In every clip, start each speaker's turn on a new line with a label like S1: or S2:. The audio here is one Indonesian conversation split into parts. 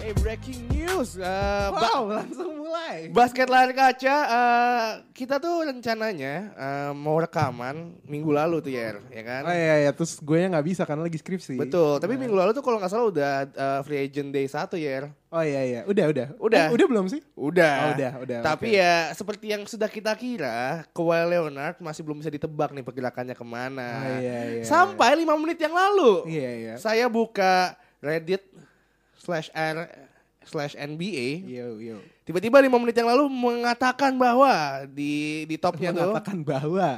S1: Hey, Eh, breaking news. Eh, ba-
S2: Wow, langsung mulai.
S1: basket layar kaca. eh, kita tuh rencananya eh, mau rekaman minggu lalu tuh Yer, ya kan?
S2: Oh iya, Nah. iya. terus gue nggak bisa karena lagi skripsi.
S1: Betul. Tapi minggu lalu tuh kalau nggak salah udah eh, free agent day satu Yer.
S2: Oh iya iya, udah udah.
S1: Udah.
S2: Eh, udah belum sih?
S1: Udah.
S2: Oh, udah, udah,
S1: Tapi
S2: oke.
S1: ya seperti yang sudah kita kira, Kawhi Leonard masih belum bisa ditebak nih pergerakannya kemana.
S2: Oh, iya, iya.
S1: Sampai lima menit yang lalu,
S2: Iya iya.
S1: saya buka Reddit slash r slash NBA.
S2: Yo yo.
S1: Tiba-tiba lima menit yang lalu mengatakan bahwa di di topnya tuh
S2: Mengatakan ya. bahwa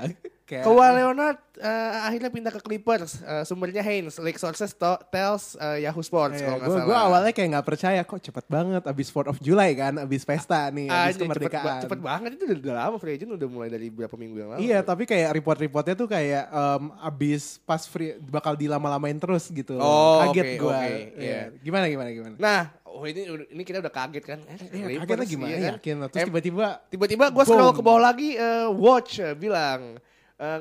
S2: kayak
S1: Kawhi Leonard eh, akhirnya pindah ke Clippers. Eh, sumbernya Haynes, League Sources to- tells eh, Yahoo Sports
S2: Iya,
S1: kalau nggak
S2: gua,
S1: salah.
S2: gua awalnya kayak nggak percaya kok cepet banget abis 4 of July kan abis pesta nih
S1: Anjing,
S2: abis
S1: Ah, cepet, ba-
S2: kemerdekaan
S1: cepet banget itu udah, udah lama free agent udah mulai dari berapa minggu yang lalu.
S2: Iya, tapi kayak report-reportnya tuh kayak em, abis pas free bakal dilama-lamain terus gitu.
S1: Oh,
S2: Kaget
S1: oke,
S2: gua.
S1: oke,
S2: Iya.
S1: iya.
S2: Gimana gimana gimana?
S1: Nah, oh ini ini kita udah kaget kan. Eh, Clippers,
S2: Iya, kagetnya gimana
S1: iya
S2: ya?
S1: kan?
S2: Yakin lah. Terus
S1: Em,
S2: tiba-tiba
S1: Tiba-tiba gue scroll
S2: Boom.
S1: ke bawah lagi eh, watch eh, bilang eh,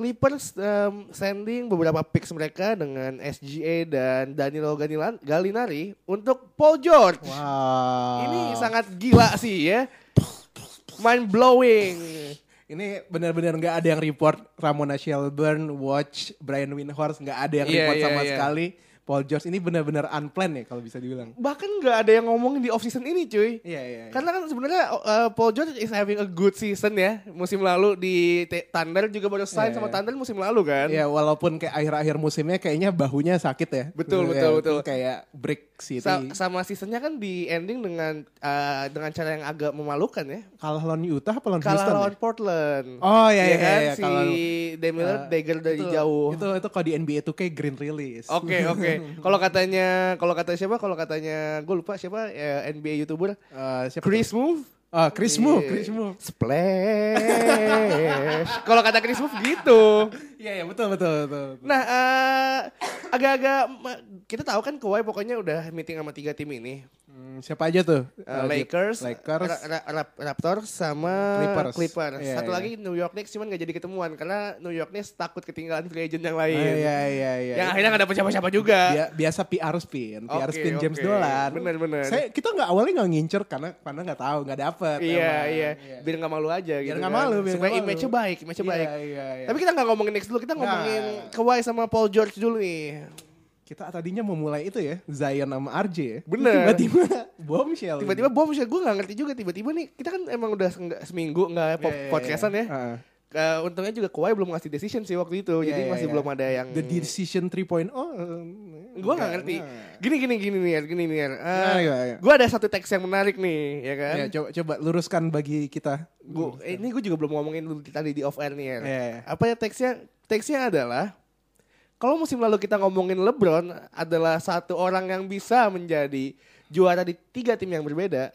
S1: Clippers em, sending beberapa picks mereka dengan SGA dan Danilo Ganilan- Gallinari untuk Paul George.
S2: wow.
S1: Ini sangat gila sih ya. Mind blowing.
S2: Ini benar-benar nggak ada yang report Ramona Shelburne, Watch, Brian Windhorst, nggak ada yang
S1: Iya,
S2: report
S1: iya,
S2: sama
S1: iya.
S2: sekali. Paul George ini benar-benar unplanned ya kalau bisa dibilang.
S1: Bahkan nggak ada yang ngomongin di off season ini, cuy.
S2: Iya, iya. iya.
S1: Karena kan sebenarnya uh, Paul George is having a good season ya. Musim lalu di T- Thunder juga baru sign
S2: Iya,
S1: sama
S2: iya.
S1: Thunder musim lalu kan.
S2: ya walaupun kayak akhir-akhir musimnya kayaknya bahunya sakit ya.
S1: Betul,
S2: Ya,
S1: betul, betul.
S2: Kayak break city.
S1: Sa- sama seasonnya kan di ending dengan uh, dengan cara yang agak memalukan ya.
S2: kalah lawan Utah apa lawan
S1: Kalah
S2: Houston? ya?
S1: lawan Portland.
S2: Oh iya
S1: Ya
S2: iya
S1: kan
S2: iya,
S1: si
S2: kalau
S1: Damian Lillard
S2: eh,
S1: dagger dari
S2: itu,
S1: jauh.
S2: Itu itu kalau di NBA tuh kayak green release.
S1: Oke oke. Kalau katanya kalau kata siapa? Kalau katanya gue lupa siapa ya, NBA youtuber
S2: Eh, siapa tuh?
S1: Chris Move.
S2: Ah, Chris Move,
S1: Iya.
S2: Chris Move.
S1: Splash. kalau kata Chris Move gitu.
S2: Iya iya betul betul betul. betul.
S1: Nah, eh, agak-agak ma- kita tahu kan Kawhi pokoknya udah meeting sama tiga tim ini,
S2: Hmm, siapa aja tuh?
S1: Eh,
S2: Eh,
S1: Lakers,
S2: Lakers.
S1: Ra- Ra- Ra- Raptors sama
S2: Clippers.
S1: Clippers.
S2: Iya,
S1: Satu
S2: iya.
S1: lagi New York Knicks cuman gak jadi ketemuan karena New York Knicks takut ketinggalan free agent yang
S2: Ah,
S1: lain.
S2: Iya iya iya.
S1: Yang akhirnya gak dapet siapa-siapa juga.
S2: Bia- biasa PR spin, PR
S1: Oke,
S2: spin James
S1: oke.
S2: Dolan.
S1: Bener, bener.
S2: Saya kita nggak awalnya nggak ngincer karena karena nggak tahu nggak dapet.
S1: Iya,
S2: emang.
S1: iya. Biar gak malu aja gitu. kan.
S2: nggak malu, biar
S1: Supaya
S2: nggak malu.
S1: image-nya baik, image-nya
S2: Iya,
S1: baik.
S2: iya, iya.
S1: ya. Tapi kita gak ngomongin Knicks dulu, kita
S2: Nah.
S1: ngomongin Kawhi sama Paul George dulu nih.
S2: kita tadinya mau mulai itu ya Zion sama RJ. ya.
S1: Bener.
S2: Tiba-tiba bombshell. Iya,
S1: Tiba-tiba bom, gue gak ngerti juga tiba-tiba nih. Kita kan emang udah nggak- seminggu gak
S2: Iya, iya, iya.
S1: podcastan ya.
S2: Heeh.
S1: Eh, untungnya juga Kawhi belum ngasih decision sih waktu itu.
S2: Iya,
S1: jadi
S2: iya,
S1: masih
S2: iya.
S1: belum ada yang
S2: The Decision 3.0. eh,
S1: Gue gak ngerti.
S2: enggak. Nah,
S1: Gini gini gini nih, Yer, gini nih. Yer. Eh,
S2: Gimana, gimana, gimana?
S1: Gue ada satu teks yang menarik nih, ya kan?
S2: Ya, coba coba luruskan bagi kita.
S1: Gua- eh, ini gue juga belum ngomongin dulu tadi di off air nih. Yer.
S2: Iya, iya.
S1: Apa ya teksnya? Teksnya adalah kalau musim lalu kita ngomongin LeBron adalah satu orang yang bisa menjadi juara di tiga tim yang berbeda.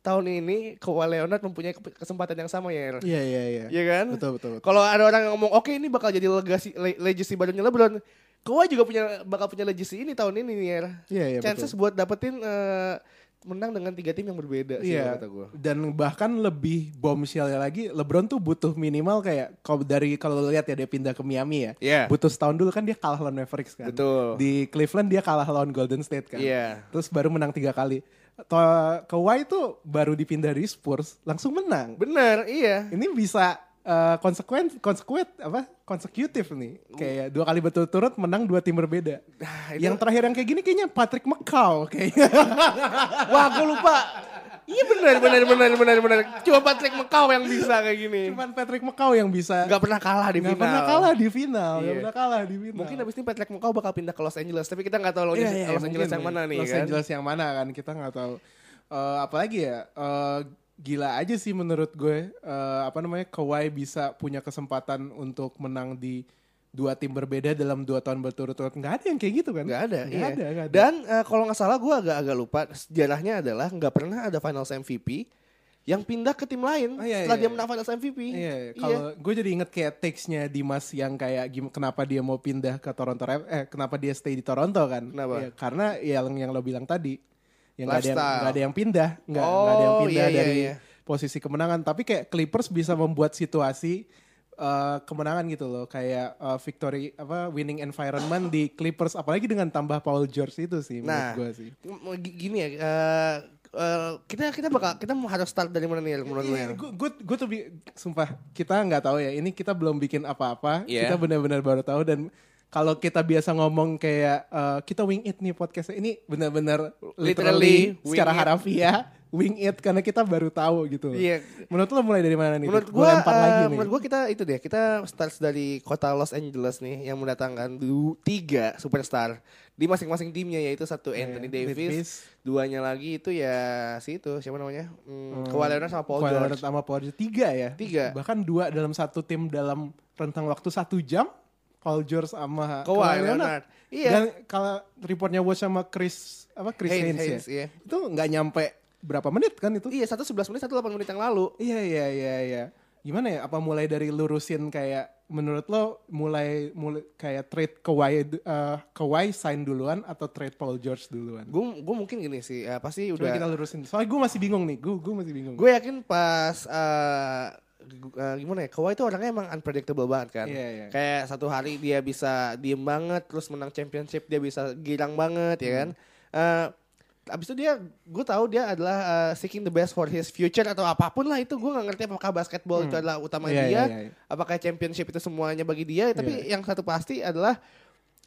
S1: Tahun ini Kawhi Leonard mempunyai ke- kesempatan yang sama ya.
S2: Iya iya iya.
S1: Iya kan?
S2: Betul betul. betul.
S1: Kalau ada orang yang ngomong, oke ini bakal jadi legacy le- legacy barunya LeBron. Kawhi juga punya bakal punya legacy ini tahun ini nih ya.
S2: Iya iya betul.
S1: Chances buat dapetin eh, menang dengan tiga tim yang berbeda sih kalau
S2: Iya.
S1: kata gue.
S2: Dan bahkan lebih bombshellnya lagi, LeBron tuh butuh minimal kayak kalau dari kalau lu lihat ya dia pindah ke Miami ya.
S1: Iya.
S2: Butuh setahun dulu kan dia kalah lawan Mavericks kan.
S1: Betul.
S2: Di Cleveland dia kalah lawan Golden State kan.
S1: Iya.
S2: Terus baru menang tiga kali. To Kawhi tuh baru dipindah dari Spurs langsung menang.
S1: Bener, iya.
S2: Ini bisa eh, konsekuen konsekuen apa konsekutif nih kayak dua kali berturut-turut menang dua tim berbeda.
S1: Nah, itu-
S2: yang terakhir yang kayak gini kayaknya Patrick McCaw kayaknya.
S1: Wah, gue lupa. Iya bener, bener, bener, bener, bener. Cuma Patrick Mekau yang bisa kayak gini.
S2: Cuman Patrick McCaw yang bisa
S1: Gak pernah kalah di
S2: Nggak
S1: final.
S2: pernah kalah di final. Nggak
S1: Iya.
S2: pernah kalah di final.
S1: Mungkin abis ini Patrick Mekau bakal pindah ke Los Angeles, tapi kita nggak tahu Los,
S2: Iya, iya,
S1: Los Angeles
S2: mungkin
S1: yang mana nih
S2: Los
S1: kan.
S2: Angeles yang mana kan kita nggak tahu. Eh, apalagi ya eh, gila aja sih menurut gue eh, apa namanya Kawhi bisa punya kesempatan untuk menang di dua tim berbeda dalam dua tahun berturut-turut nggak ada yang kayak gitu kan
S1: Nggak ada,
S2: nggak
S1: iya.
S2: ada, nggak ada.
S1: Dan eh, kalau nggak salah gue agak-agak lupa sejarahnya adalah nggak pernah ada Finals MVP yang pindah ke tim lain
S2: Oh, iya,
S1: setelah
S2: iya,
S1: dia
S2: iya.
S1: menang Finals MVP.
S2: Iya, kalau gue jadi inget kayak teksnya Dimas yang kayak gim- kenapa dia mau pindah ke Toronto Rap- eh kenapa dia stay di Toronto kan?
S1: Kenapa?
S2: Iya, karena ya yang yang lo bilang tadi yang nggak ada yang
S1: Lifestyle.
S2: nggak ada yang pindah, nggak nggak ada yang
S1: Oh, iya,
S2: pindah
S1: iya,
S2: dari
S1: iya.
S2: posisi kemenangan. Tapi kayak Clippers bisa membuat situasi eh, kemenangan gitu loh, kayak eh, victory apa winning environment di Clippers, apalagi dengan tambah Paul George itu sih menurut
S1: Nah,
S2: gue sih.
S1: G- gini ya, eh, eh, kita kita bakal kita mau harus start dari mana nih menurut lu? ya? Yan?
S2: Gue gue tuh bi- sumpah kita nggak tahu ya. Ini kita belum bikin apa-apa.
S3: Iya.
S2: Kita benar-benar baru tahu dan kalau kita biasa ngomong kayak eh, kita wing it nih podcastnya ini benar-benar literally,
S1: Literally, wing
S2: secara
S1: it.
S2: harafiah wing it karena kita baru tahu gitu.
S1: Iya.
S2: Menurut lo mulai dari mana nih?
S1: Menurut
S2: Gue
S1: gua,
S2: lempar
S1: eh,
S2: lagi nih.
S1: menurut gua kita itu deh, kita start dari kota Los Angeles nih yang mendatangkan du- tiga superstar di masing-masing timnya yaitu satu Anthony
S2: Iya,
S1: Davis,
S2: Davis.
S1: duanya lagi itu ya si itu siapa namanya? Hmm, Kawhi Leonard sama Paul
S2: Kawhi
S1: George.
S2: Leonard sama Paul George tiga ya.
S1: Tiga.
S2: Bahkan dua dalam satu tim dalam rentang waktu satu jam. Paul George sama
S1: Kawhi Leonard. Iya.
S2: Dan kalau reportnya Watch sama Chris apa Chris
S1: Haynes,
S2: Haynes,
S1: Haynes,
S2: ya.
S1: iya.
S2: Itu nggak nyampe berapa menit kan itu?
S1: Iya, satu 11 menit, satu 8 menit yang lalu.
S2: Iya iya iya iya. Gimana ya? Apa mulai dari lurusin kayak menurut lo mulai mulai kayak trade Kawhi eh, Kawhi sign duluan atau trade Paul George duluan?
S1: Gue gue mungkin gini sih, eh, pasti
S2: Coba kita
S1: udah.
S2: lurusin. Soalnya gue masih bingung nih. Gue gue masih bingung.
S1: Gue yakin pas eh, gu- eh, gimana ya, Kawhi itu orangnya emang unpredictable banget kan.
S2: Iya, iya.
S1: Kayak satu hari dia bisa diem banget, terus menang championship dia bisa girang banget ya kan.
S2: Hmm.
S1: Eh, abis itu dia, gue tahu dia adalah eh, seeking the best for his future atau apapun lah itu. Gue gak ngerti apakah basketball itu adalah utama
S2: Iya,
S1: dia,
S2: iya, iya.
S1: apakah championship itu semuanya bagi dia. Tapi yang satu pasti adalah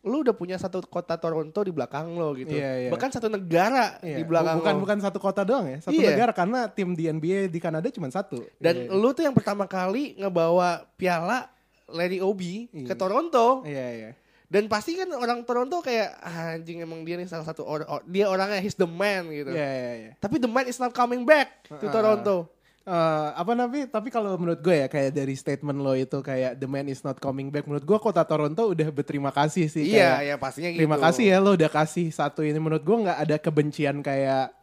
S1: lu udah punya satu kota Toronto di belakang lo gitu.
S2: Iya, iya.
S1: Bahkan satu negara
S2: Iya,
S1: di belakang
S2: bukan
S1: lo.
S2: bukan satu kota doang ya, satu
S1: Iya.
S2: negara karena tim di NBA di Kanada cuma satu.
S1: Dan
S2: Iya.
S1: lu tuh yang pertama kali ngebawa piala Larry Obi
S2: Iya.
S1: ke Toronto
S2: Iya iya.
S1: dan pasti kan orang Toronto kayak "Ah, anjing emang dia nih salah satu or- or- dia orangnya he's the man gitu.
S2: Iya iya iya.
S1: Tapi the man is not coming back to
S2: Ah.
S1: Toronto.
S2: Eh, apa tapi tapi kalau menurut gue ya kayak dari statement lo itu kayak the man is not coming back menurut gue kota Toronto udah berterima kasih sih
S1: Iya,
S2: kayak,
S1: ya pastinya gitu.
S2: terima kasih ya lo udah kasih satu ini menurut gue nggak ada kebencian kayak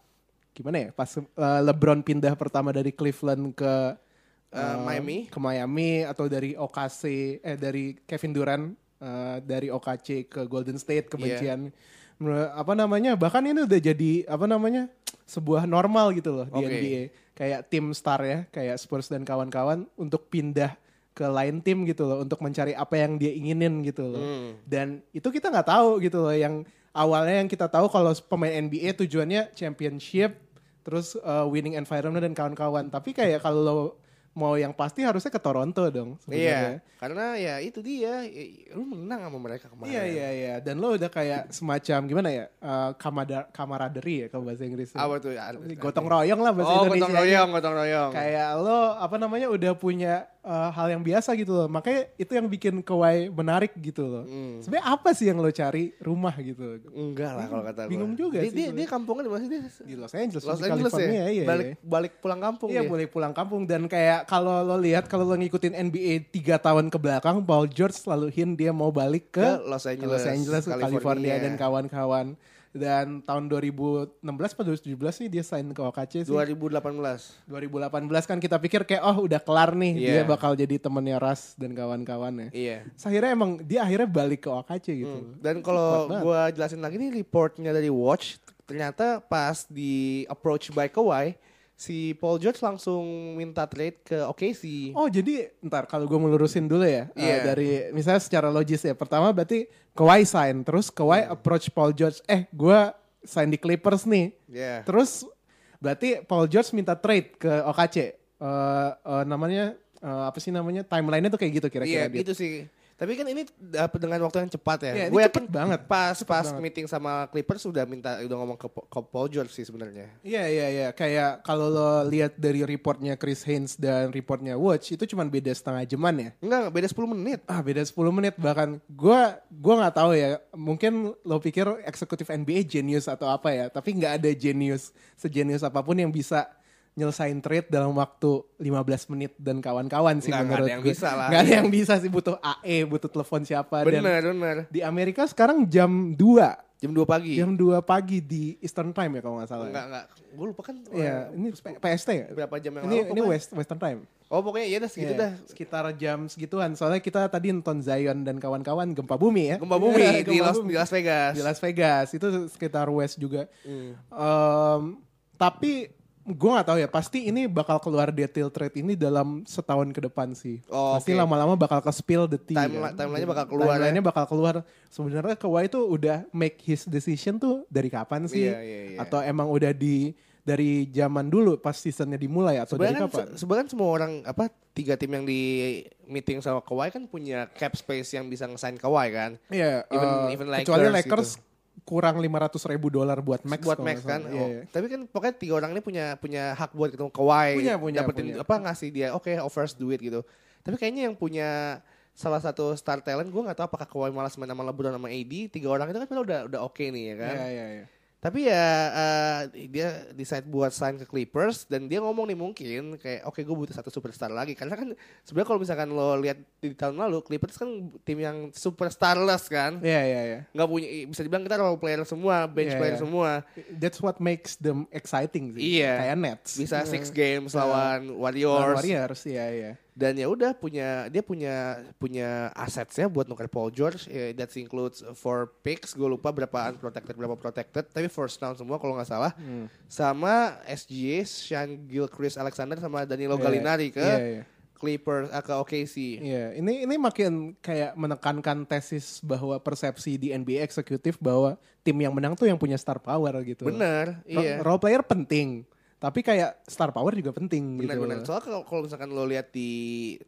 S2: gimana ya pas eh, LeBron pindah pertama dari Cleveland ke eh,
S1: Miami.
S2: ke Miami atau dari OKC eh dari Kevin Durant eh, dari OKC ke Golden State kebencian Menurut- apa namanya bahkan ini udah jadi apa namanya sebuah normal gitu loh di
S1: Oke.
S2: NBA kayak tim star ya kayak Spurs dan kawan-kawan untuk pindah ke lain tim gitu loh untuk mencari apa yang dia inginin gitu loh
S1: Hmm.
S2: dan itu kita nggak tahu gitu loh yang awalnya yang kita tahu kalau pemain NBA tujuannya championship terus uh, winning environment dan kawan-kawan tapi kayak kalau lo mau yang pasti harusnya ke Toronto dong
S1: Iya,
S2: sebenarnya.
S1: karena ya itu dia. I- Lu menang sama mereka kemarin.
S2: Iya iya iya dan lo udah kayak semacam gimana ya uh, kamadar- kamaraderi ya kalau bahasa Inggrisnya
S1: Apa tuh?
S2: gotong royong lah bahasa
S1: ya, Oh,
S2: Indonesia
S1: gotong royong, gotong royong.
S2: kayak lo apa namanya udah punya uh, hal yang biasa gitu loh makanya itu yang bikin Kawhi menarik gitu loh
S1: Hmm.
S2: sebenarnya apa sih yang lo cari rumah gitu
S1: Enggak lah kalau kata gue.
S2: Bingung juga
S1: dia,
S2: sih
S1: Dia,
S2: gue.
S1: dia kampungnya di mana sih? Dia
S2: di Los Angeles,
S1: Los
S2: di
S1: Angeles ya?
S2: California, iya,
S1: balik,
S2: iya.
S1: balik pulang kampung ya?
S2: Iya
S1: dia.
S2: boleh pulang kampung dan kayak kalau lo lihat kalau lo ngikutin NBA 3 tahun ke belakang Paul George selalu hint dia mau balik ke,
S1: Ke Los
S2: ke
S1: Angeles,
S2: Los Angeles, ke California.
S1: California.
S2: dan kawan-kawan. Dan tahun 2016 atau 2017 nih dia sign ke OKC sih.
S1: 2018.
S2: 2018 kan kita pikir kayak oh udah kelar nih
S1: Iya.
S2: dia bakal jadi temennya Ras dan kawan-kawannya.
S1: Iya. Hmm.
S2: Terus Akhirnya emang dia akhirnya balik ke OKC gitu.
S1: Dan kalau
S2: Kuat banget.
S1: gua jelasin lagi nih reportnya dari Watch, ternyata pas di approach by Kawhi, si Paul George langsung minta trade ke OKC.
S2: Oh jadi ntar kalau gue melurusin dulu ya eh,
S1: Iya.
S2: dari misalnya secara logis ya pertama berarti Kawhi sign terus Kawhi
S1: Hmm.
S2: approach Paul George eh gue sign di Clippers nih
S1: Iya.
S2: terus berarti Paul George minta trade ke OKC Eh, eh, namanya eh, apa sih namanya timelinenya tuh kayak gitu
S1: Iya,
S2: kira-kira dia.
S1: gitu sih. Tapi kan ini uh, dengan waktu yang cepat ya.
S2: Iya, ini
S1: Gue
S2: cepet banget.
S1: Pas pas
S2: banget.
S1: meeting sama Clippers udah minta udah ngomong ke, ke Paul George sih sebenarnya.
S2: Iya iya iya kayak kalau lo lihat dari reportnya Chris Haynes dan reportnya Watch itu cuman beda setengah jaman ya
S1: Enggak, beda 10 menit.
S2: ah beda 10 menit bahkan gua gua nggak tahu ya mungkin lo pikir eksekutif NBA genius atau apa ya tapi nggak ada genius sejenius apapun yang bisa nyelesain trade dalam waktu 15 menit dan kawan-kawan sih
S1: Nggak- nggak
S2: menurut
S1: ada yang
S2: gue.
S1: bisa lah.
S2: Nggak ada yang bisa sih butuh AE, butuh telepon siapa dan
S1: Bener, bener.
S2: di Amerika sekarang jam 2
S1: Jam 2 pagi.
S2: jam 2 pagi di Eastern Time ya kalau nggak salah.
S1: Enggak, enggak. Gue lupa kan
S2: Iya,
S1: eh,
S2: ini P- PST ya?
S1: berapa jam yang lalu.
S2: Ini ini
S1: pokoknya.
S2: West Western Time.
S1: Oh pokoknya ya udah segitu
S2: Iya,
S1: dah.
S2: Sekitar jam segituan. Soalnya kita tadi nonton Zion dan kawan-kawan gempa bumi ya.
S1: Gempa bumi
S2: Iya,
S1: di,
S2: gempa
S1: Las,
S2: bumi.
S1: di Las Vegas.
S2: Di Las Vegas itu sekitar West juga.
S1: Hmm.
S2: Em, tapi gue nggak tahu ya. Pasti ini bakal keluar detail trade ini dalam setahun ke depan sih.
S1: Oh,
S2: pasti
S1: oke.
S2: lama-lama bakal ke spill the tea.
S1: Timeli- timelinenya bakal keluar ya.
S2: Timelinenya bakal keluar. Sebenarnya Kawhi itu udah make his decision tuh dari kapan sih?
S1: Iya, iya, iya.
S2: Atau emang udah di dari zaman dulu pas seasonnya dimulai atau
S1: Sebenarnya
S2: dari
S1: kan,
S2: kapan?
S1: se- sebenarnya kan semua orang apa tiga tim yang di meeting sama Kawhi kan punya cap space yang bisa ngesign Kawhi kan.
S2: Iya,
S1: Even-
S2: eh,
S1: even
S2: kecuali
S1: Lakers gitu.
S2: Lakers kurang 500 ribu dolar buat Max.
S1: buat
S2: kalau
S1: Max
S2: nggak
S1: kan.
S2: salah.
S1: Oh,
S2: Iya, iya.
S1: Tapi kan pokoknya tiga orang ini punya punya hak buat ketemu Kawhi.
S2: Punya, punya,
S1: dapetin
S2: punya.
S1: apa ngasih dia oke offers duit gitu. Tapi kayaknya yang punya salah satu star talent gue nggak tahu apakah Kawhi malas main sama LeBron sama AD tiga orang itu kan padahal udah udah oke nih ya kan
S2: Iya, iya, iya.
S1: tapi ya eh, dia decide buat sign ke Clippers dan dia ngomong nih mungkin kayak oke gue butuh satu superstar lagi karena kan sebenarnya kalau misalkan lo lihat di tahun lalu Clippers kan tim yang superstarless kan
S2: Iya, iya, iya.
S1: nggak punya bisa dibilang kita role player semua bench
S2: Iya,
S1: player
S2: iya.
S1: semua
S2: That's what makes them exciting sih.
S1: Iya.
S2: Kayak Nets.
S1: bisa
S2: Iya.
S1: six games
S2: Iya.
S1: lawan
S2: Lawan
S1: Warriors,
S2: Warriors, iya, iya.
S1: dan ya udah punya dia punya punya asetnya buat nuker Paul George eh, that includes four picks gue lupa berapa unprotected berapa protected tapi first round semua kalau nggak salah
S2: Hmm.
S1: sama SGA, Sean Gilchrist Alexander sama Danilo
S2: Iya,
S1: Gallinari ke
S2: Iya, iya.
S1: Clippers eh, ke OKC.
S2: Iya, ini ini makin kayak menekankan tesis bahwa persepsi di NBA eksekutif bahwa tim yang menang tuh yang punya star power gitu.
S1: Bener,
S2: Ro-
S1: iya.
S2: Role player penting, tapi kayak star power juga penting
S1: Bener
S2: gitu.
S1: bener. Soalnya kalau- kalau misalkan lo lihat di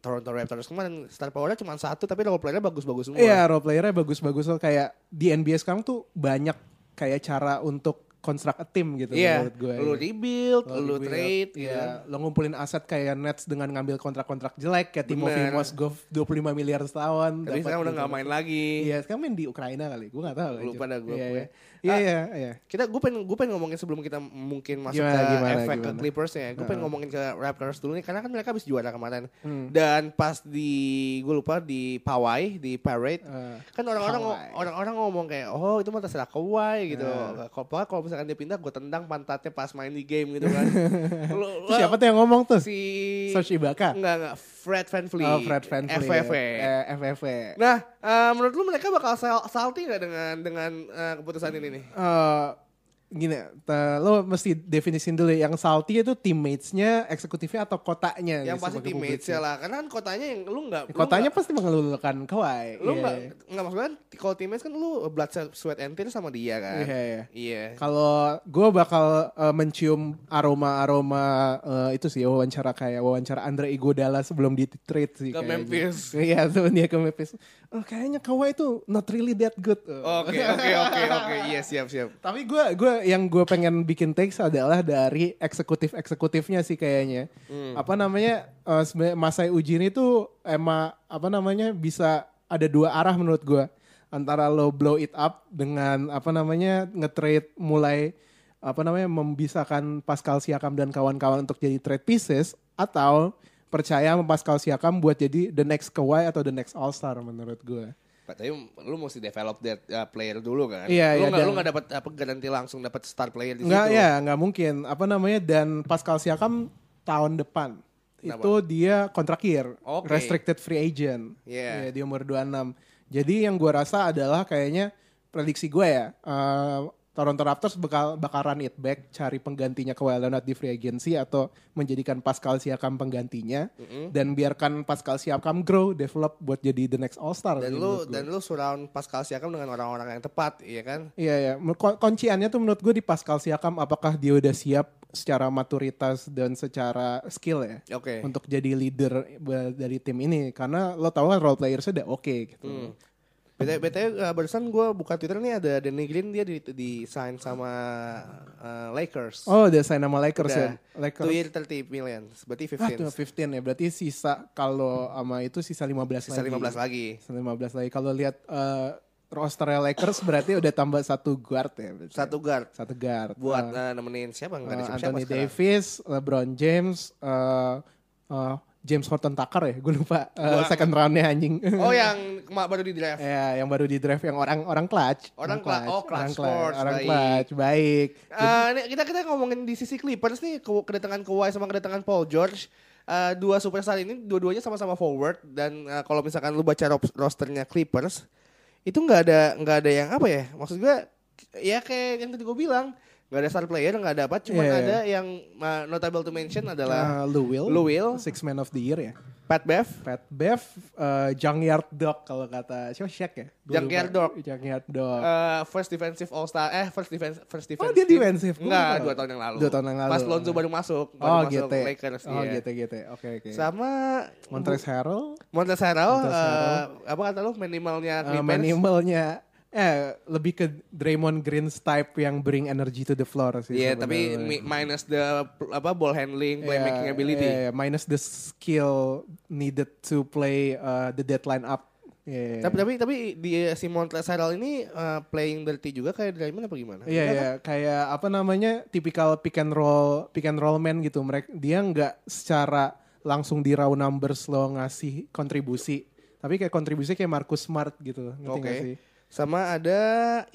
S1: Toronto Raptors kemarin star powernya cuma satu tapi role player bagus-bagus semua.
S2: Iya role playernya bagus-bagus loh kayak di NBA sekarang tuh banyak kayak cara untuk construct a team gitu
S1: Iya,
S2: menurut gue.
S1: lo rebuild,
S2: Lo
S1: lo
S2: rebuild,
S1: trade, gitu.
S2: iya. Lo ngumpulin aset kayak Nets dengan ngambil kontrak-kontrak jelek kayak Timo
S1: Bener.
S2: Mozgov 25 miliar setahun.
S1: Tapi
S2: dapat
S1: sekarang udah
S2: gitu.
S1: nggak main lagi.
S2: Iya, sekarang main di Ukraina kali. Gue gak tahu.
S1: Lupa dah gua,
S2: Iya,
S1: pokoknya.
S2: iya. Iya,
S1: Ah.
S2: iya, iya.
S1: Kita gue pengen gue pengen ngomongin sebelum kita mungkin masuk
S2: Gimana,
S1: ke
S2: gimana,
S1: efek ke
S2: gimana?
S1: Clippers ya. Gue pengen
S2: Heeh.
S1: ngomongin ke Raptors dulu nih karena kan mereka habis juara kemarin.
S2: Hmm.
S1: Dan pas di gue lupa di Pawai di parade
S2: Eh,
S1: kan orang-orang
S2: Kawhi.
S1: orang-orang ngomong kayak oh itu mah terserah Kawhi gitu.
S2: Nah.
S1: Kalau pokoknya kalau misalkan dia pindah gue tendang pantatnya pas main di game gitu kan. Lu,
S2: itu siapa tuh yang ngomong tuh?
S1: si
S2: Serge Ibaka.
S1: enggak enggak Fred VanVleet.
S2: Oh, Fred Van
S1: FFV.
S2: Eh, FFV.
S1: Nah, eh, menurut lu mereka bakal sal salty nggak dengan dengan eh, keputusan ini nih?
S2: Eh, gini, te- lo mesti definisin dulu yang salty itu teammates-nya, eksekutifnya atau kotanya.
S1: Yang
S2: gitu
S1: pasti
S2: sebagai
S1: teammates
S2: publisher.
S1: lah, karena kan kotanya yang lu nggak lu
S2: Kotanya pasti mengelulukan Kawhi.
S1: nggak- lu
S2: Iya,
S1: nggak
S2: iya.
S1: nggak maksudnya kalau teammates kan lu blood sweat and tears sama dia kan.
S2: Iya, iya.
S1: Iya.
S2: Kalau gue bakal eh, mencium aroma-aroma eh, itu sih wawancara kayak wawancara Andre Iguodala sebelum di trade sih.
S1: Ke
S2: kayaknya.
S1: Memphis.
S2: Iya sebelum dia ke Memphis. Oh, kayaknya Kawhi itu not really that good. Oh.
S1: Oke, oke, oke, oke. Iya, siap, siap.
S2: Tapi gue gua yang gue pengen bikin takes adalah dari eksekutif eksekutifnya sih kayaknya. Apa namanya eh, sebenarnya Masai Ujiri itu emang apa namanya bisa ada dua arah menurut gue antara lo blow it up dengan apa namanya nge-trade mulai apa namanya membisakan Pascal Siakam dan kawan-kawan untuk jadi trade pieces atau percaya sama Pascal Siakam buat jadi the next Kawhi atau the next All Star menurut gue.
S1: Tapi lu mesti develop that uh, player dulu kan.
S2: Iya,
S1: lu
S2: iya,
S1: nggak
S2: dan-
S1: lu nggak dapat apa garansi langsung dapat star player di
S2: Nggak
S1: situ.
S2: ya, nggak mungkin. Apa namanya dan Pascal Siakam tahun depan
S1: Kenapa?
S2: itu dia kontrak year,
S1: Oke.
S2: restricted free agent.
S1: Iya.
S2: Iya, di umur 26. Jadi yang gua rasa adalah kayaknya prediksi gue ya, eh, Toronto Raptors bakal bakal run it back cari penggantinya Kawhi Leonard di free agency atau menjadikan Pascal Siakam penggantinya dan biarkan Pascal Siakam grow, develop buat jadi the next gitu. All Star.
S1: Dan lu dan lu surround Pascal Siakam dengan orang-orang yang tepat, iya kan?
S2: Iya ya, Menurut- kun- kunciannya tuh menurut gue di Pascal Siakam apakah dia udah siap secara maturitas dan secara skill ya
S1: Oke.
S2: untuk jadi leader be- dari tim ini karena lo tau kan role playersnya udah oke gitu.
S1: Hmm. BTW, BTW uh, barusan gue buka Twitter nih ada Danny Green dia di, di sign sama uh, Lakers.
S2: Oh udah sign sama Lakers ya.
S1: Udah.
S2: Lakers.
S1: Two year 30 million, berarti
S2: Ah, tuh
S1: 15.
S2: 15 ya berarti sisa kalau sama itu sisa 15
S1: Sisa
S2: lagi.
S1: 15 lagi.
S2: Sisa 15 lagi. Kalau lihat eh, rosternya Lakers berarti udah tambah satu guard ya. berarti.
S1: Satu guard
S2: satu guard.
S1: buat
S2: Eh,
S1: eh, nemenin siapa nggak ada
S2: eh,
S1: siapa,
S2: Anthony
S1: sekarang.
S2: Davis, LeBron James, eh, eh, James Horton Tucker ya, gue lupa eh,
S1: Gua-
S2: second roundnya anjing.
S1: Oh yang kema- baru di draft.
S2: Ya, yang baru di draft yang orang orang clutch.
S1: Orang cla- oh, clutch
S2: orang
S1: sports,
S2: orang
S1: baik.
S2: clutch, baik.
S1: Eh, ini kita kita ngomongin di sisi Clippers nih ke- kedatangan Kawhi sama kedatangan Paul George. Eh, dua superstar ini dua-duanya sama-sama forward dan eh, kalau misalkan lu baca ro- rosternya Clippers itu nggak ada nggak ada yang apa ya maksud gua ya kayak yang tadi gue bilang nggak ada star player nggak ada apa cuma
S2: Yeah.
S1: ada yang eh, notable to mention adalah
S2: Eh, Lou Will,
S1: Lou Will.
S2: Six Man of the Year ya.
S1: Pat Bev
S2: Pat Bev, eh, Junkyard Dog kalau kata siapa Shaq ya? Gua
S1: Junkyard
S2: lupa.
S1: Dog.
S2: Junkyard Dog.
S1: eh, first defensive all star eh first defense first defense
S2: Oh, dia defensive. Gua nggak
S1: enggak
S2: tahu.
S1: dua tahun yang lalu
S2: Dua tahun yang lalu.
S1: pas Lonzo baru masuk baru
S2: oh,
S1: masuk
S2: gitu.
S1: Lakers iya.
S2: oh,
S1: dia.
S2: gitu gitu. Oke oke.
S1: sama
S2: Montrezl Harrell,
S1: Montrezl Harrell,
S2: Montrezl Harrell.
S1: eh, apa kata lu minimalnya
S2: eh,
S1: Kan Clippers?
S2: minimalnya eh lebih ke Draymond Green's type yang bring energy to the floor sih.
S1: Iya,
S2: sebenarnya.
S1: tapi mi- minus the pl- apa ball handling,
S2: Iya,
S1: playmaking
S2: Yeah,
S1: ability.
S2: yeah, yeah. iya. minus the skill needed to play uh, the deadline up. Iya, Yeah.
S1: Tapi tapi tapi di si Montrezl Harrell ini eh, playing dirty juga kayak Draymond apa gimana?
S2: Iya
S1: Enggak
S2: ya, kayak apa namanya tipikal pick and roll pick and roll man gitu. Mereka dia nggak secara langsung di raw numbers lo ngasih kontribusi, tapi kayak kontribusi kayak Marcus Smart gitu.
S1: kan?
S2: Ngerti
S1: Oke.
S2: nggak sih?
S1: Sama ada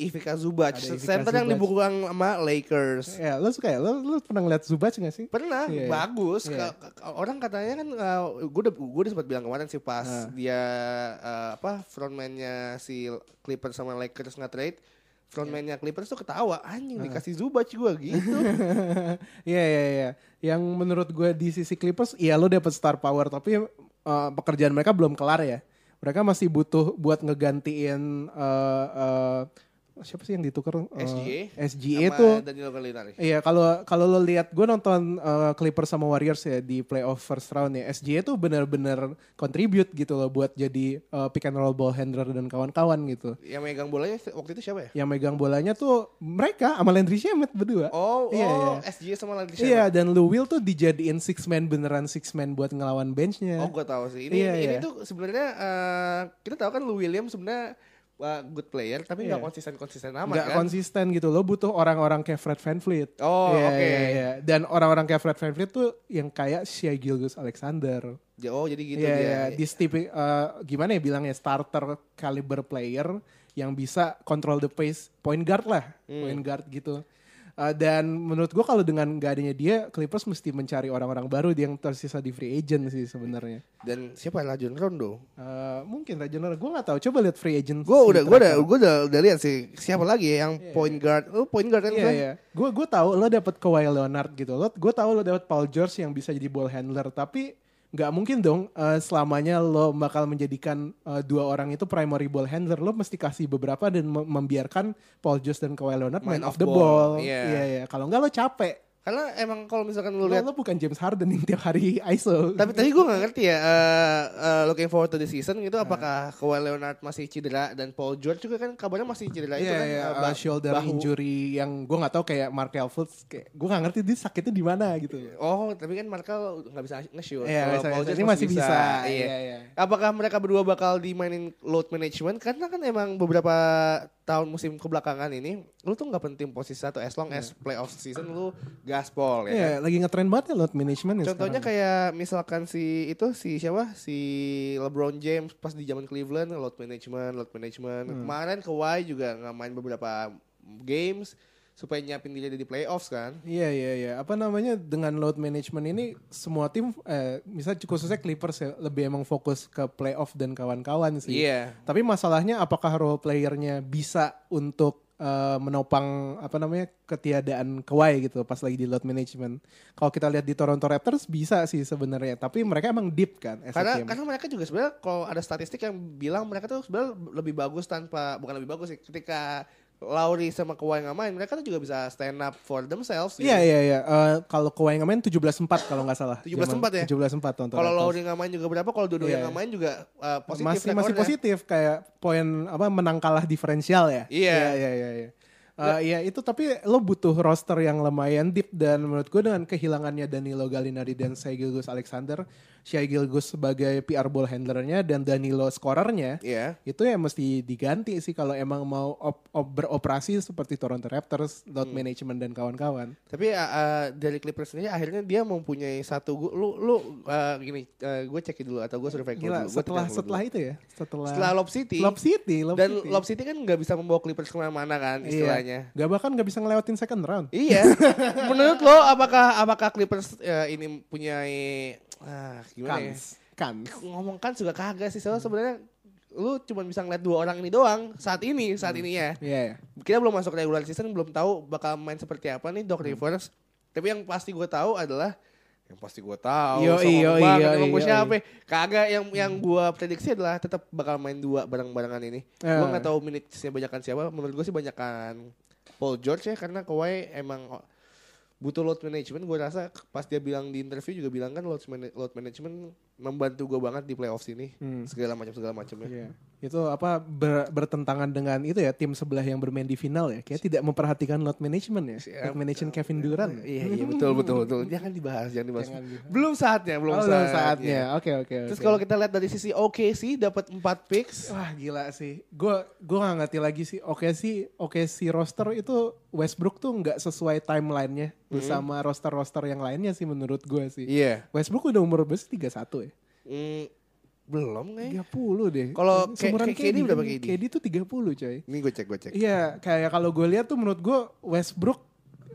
S1: Ivica Zubac,
S2: Ada Ivica
S1: center yang
S2: Zubac.
S1: dibukukan sama Lakers.
S2: Ya, lo suka ya? Lo, lo pernah ngeliat Zubac nggak sih?
S1: Pernah,
S2: Iya, iya.
S1: bagus.
S2: Iya.
S1: Ka- ka- Orang katanya kan, gue udah gue udah sempat bilang kemarin sih pas
S2: Ah.
S1: dia eh, apa frontman-nya si Clippers sama Lakers nggak trade, frontman-nya Clippers tuh ketawa, anjing
S2: Nah.
S1: dikasih Zubac gua gitu.
S2: Iya iya iya. Yang menurut gue di sisi Clippers, iya lo dapet star power, tapi uh, pekerjaan mereka belum kelar ya. Mereka masih butuh buat ngegantiin uh, uh, siapa sih yang ditukar? Uh,
S1: SGA.
S2: SGA
S1: Sama
S2: itu.
S1: Danilo Gallinari.
S2: Iya kalau kalau lo lihat gue nonton uh, Clippers sama Warriors ya di playoff first round ya SGA tuh bener-bener contribute gitu loh buat jadi uh, pick and roll ball handler dan kawan-kawan gitu.
S1: Yang megang bolanya waktu itu siapa ya?
S2: Yang megang bolanya tuh mereka sama Landry Shamet berdua.
S1: Oh,
S2: Iya,
S1: oh, SJ sama Landry Shamet.
S2: Iya dan Lou Will tuh dijadiin six man beneran six man buat ngelawan benchnya.
S1: Oh, gua tahu sih. Ini
S2: Iya,
S1: ini, ini
S2: iya.
S1: tuh sebenarnya eh, kita tahu kan Lou Williams sebenarnya eh, good player tapi nggak
S2: Iya.
S1: konsisten-konsisten amat
S2: nggak
S1: kan.
S2: konsisten gitu lo butuh orang-orang kayak Fred VanVleet.
S1: Oh,
S2: Iya,
S1: oke.
S2: iya, iya. Dan orang-orang kayak Fred VanVleet tuh yang kayak Shea Gilgus Alexander.
S1: oh, jadi gitu
S2: Iya,
S1: dia.
S2: iya. This tipi- eh, gimana ya bilangnya starter caliber player yang bisa control the pace, point guard lah,
S1: Hmm.
S2: point guard gitu. Eh, dan menurut gua kalau dengan gak adanya dia, Clippers mesti mencari orang-orang baru yang tersisa di free agent sih sebenarnya.
S1: Dan siapa Rajon Rondo?
S2: Eh, mungkin Rajonor, gue nggak tahu. Coba lihat free agent.
S1: Gue udah gue udah gue udah, udah lihat sih siapa lagi ya yang point guard. Oh, point guard kan.
S2: Iya
S1: Frank?
S2: iya. Gue gue tahu lo dapet Kawhi Leonard gitu. Lo gue tahu lo dapet Paul George yang bisa jadi ball handler. Tapi nggak mungkin dong eh, selamanya lo bakal menjadikan eh, dua orang itu primary ball handler. Lo mesti kasih beberapa dan mem- membiarkan Paul George dan Kawhi Leonard main, off the ball.
S1: Iya.
S2: Iya iya. Kalau nggak lo capek.
S1: Karena emang kalau misalkan lu
S2: Lo,
S1: lihat
S2: lo bukan James Harden yang tiap hari ISO.
S1: tapi tadi gue gak ngerti ya eh, eh, looking forward to the season gitu
S2: Nah.
S1: apakah Kawhi Leonard masih cedera dan Paul George juga kan kabarnya masih cedera itu
S2: Iya,
S1: kan
S2: iya,
S1: eh,
S2: uh,
S1: ba-
S2: shoulder
S1: bahu.
S2: injury yang gue nggak tahu kayak Markel Fultz, kayak gue nggak ngerti dia sakitnya di mana gitu.
S1: Oh, tapi kan Markel nggak bisa nge-shoot. Kalau
S2: Iya, nggak bisa
S1: Paul
S2: nge-shoot.
S1: George
S2: Ini masih bisa.
S1: Iya.
S2: Iya, iya.
S1: Apakah mereka berdua bakal dimainin load management? Karena kan emang beberapa tahun musim kebelakangan ini, lu tuh nggak penting posisi satu as long as playoff season lu gaspol ya. kan?
S2: Iya, lagi ngetren banget ya load management ya
S1: Contohnya
S2: sekarang.
S1: kayak misalkan si itu si siapa si LeBron James pas di zaman Cleveland load management, load management.
S2: Hmm.
S1: Kemarin Kawhi juga nggak main beberapa games supaya nyiapin diri di playoffs kan.
S2: Iya iya iya. Apa namanya dengan load management ini semua tim, eh, misalnya khususnya Clippers ya lebih emang fokus ke playoff dan kawan-kawan sih.
S1: Iya.
S2: Tapi masalahnya apakah role playernya bisa untuk eh, menopang apa namanya ketiadaan Kawhi gitu pas lagi di load management. Kalau kita lihat di Toronto Raptors bisa sih sebenarnya, tapi mereka emang deep kan. as a
S1: Karena
S2: team.
S1: karena mereka juga sebenarnya kalau ada statistik yang bilang mereka tuh sebenarnya lebih bagus tanpa bukan lebih bagus sih ketika Lauri sama Kawhi nggak main mereka tuh juga bisa stand up for themselves. gitu.
S2: Iya iya iya. Eh, kalau Kawhi yang main 17-4 kalau nggak salah.
S1: 17-4 ya?
S2: 17-4 Toronto
S1: Kalau
S2: Raptors.
S1: Lauri nggak main juga berapa? Kalau dua-dua
S2: Iya.
S1: yang nggak main juga uh, positif
S2: masih masih
S1: rekornya.
S2: positif kayak poin apa menang kalah diferensial ya.
S1: Iya.
S2: Iya iya iya. Eh, ya itu tapi lo butuh roster yang lumayan deep dan menurut gue dengan kehilangannya Danilo Gallinari dan Shai Gilgeous Alexander Shai Gilgus sebagai PR ball handlernya dan Danilo scorernya
S1: Iya.
S2: itu ya mesti diganti sih kalau emang mau op- op- beroperasi seperti Toronto Raptors, load
S1: Hmm.
S2: management dan kawan-kawan.
S1: Tapi uh, uh, dari Clippers sendiri akhirnya dia mempunyai satu gu- lu lu uh, gini gue cekin dulu atau gue survei dulu.
S2: Gila,
S1: gua
S2: setelah
S1: tekan dulu.
S2: setelah itu ya, setelah,
S1: setelah Lob City,
S2: Lob City, Lob
S1: dan
S2: City.
S1: Lob City kan nggak bisa membawa Clippers kemana-mana kan
S2: Iya.
S1: istilahnya.
S2: Gak bahkan gak bisa ngelewatin second round.
S1: Iya. Menurut lo apakah apakah Clippers eh, ini punyai ah, gimana ya?
S2: Kans, kans.
S1: Ngomong kan juga kagak sih. Soalnya sebenarnya lu cuma bisa ngeliat dua orang ini doang saat ini saat ini ya.
S2: Iya, ya.
S1: Kita belum masuk regular season, belum tahu bakal main seperti apa nih
S2: Hmm.
S1: Doc Rivers. Tapi yang pasti gue tahu adalah yang pasti gue tahu
S2: Yoi,
S1: sombong
S2: yoi,
S1: banget
S2: yoi,
S1: emang gue
S2: yoi. Hmm.
S1: siapa ya. kagak yang yang gue prediksi adalah tetap bakal main dua bareng-barengan ini
S2: Eh.
S1: gue nggak tahu minutesnya banyakan siapa menurut gue sih banyakan Paul George ya karena Kawhi emang o- butuh load management gue rasa k- pas dia bilang di interview juga bilang kan load, mana- load management membantu gue banget di playoffs ini
S2: Hmm.
S1: segala macam ya. segala macamnya
S2: Iya. Itu apa ber- bertentangan dengan itu ya tim sebelah yang bermain di final ya. Kayak tidak memperhatikan load management ya.
S1: Siap.
S2: Load management Kevin Durant. ya?
S1: iya iya betul betul betul jangan dibahas jangan dibahas
S2: Jangan dibahas.
S1: belum saatnya belum
S2: Oh,
S1: saatnya, Iya.
S2: Oke, oke,
S1: terus
S2: oke.
S1: kalau gitu- kita lihat dari sisi OKC sih dapat 4 picks
S2: Wah gila sih. Gue gue nggak ngerti lagi sih. Oke sih, oke si roster itu Westbrook tuh nggak sesuai timelinenya
S1: Hmm.
S2: bersama roster-roster yang lainnya sih menurut gue sih.
S1: iya
S2: Westbrook udah umur berapa sih? 31 ya?
S1: Hmm, belum nih
S2: 30 deh.
S1: Kalau
S2: Eh,
S1: K- K- KD berapa KD?
S2: KD tuh 30 coy.
S1: ini gue cek gue cek
S2: Iya, kayak kalau gue lihat tuh menurut gue Westbrook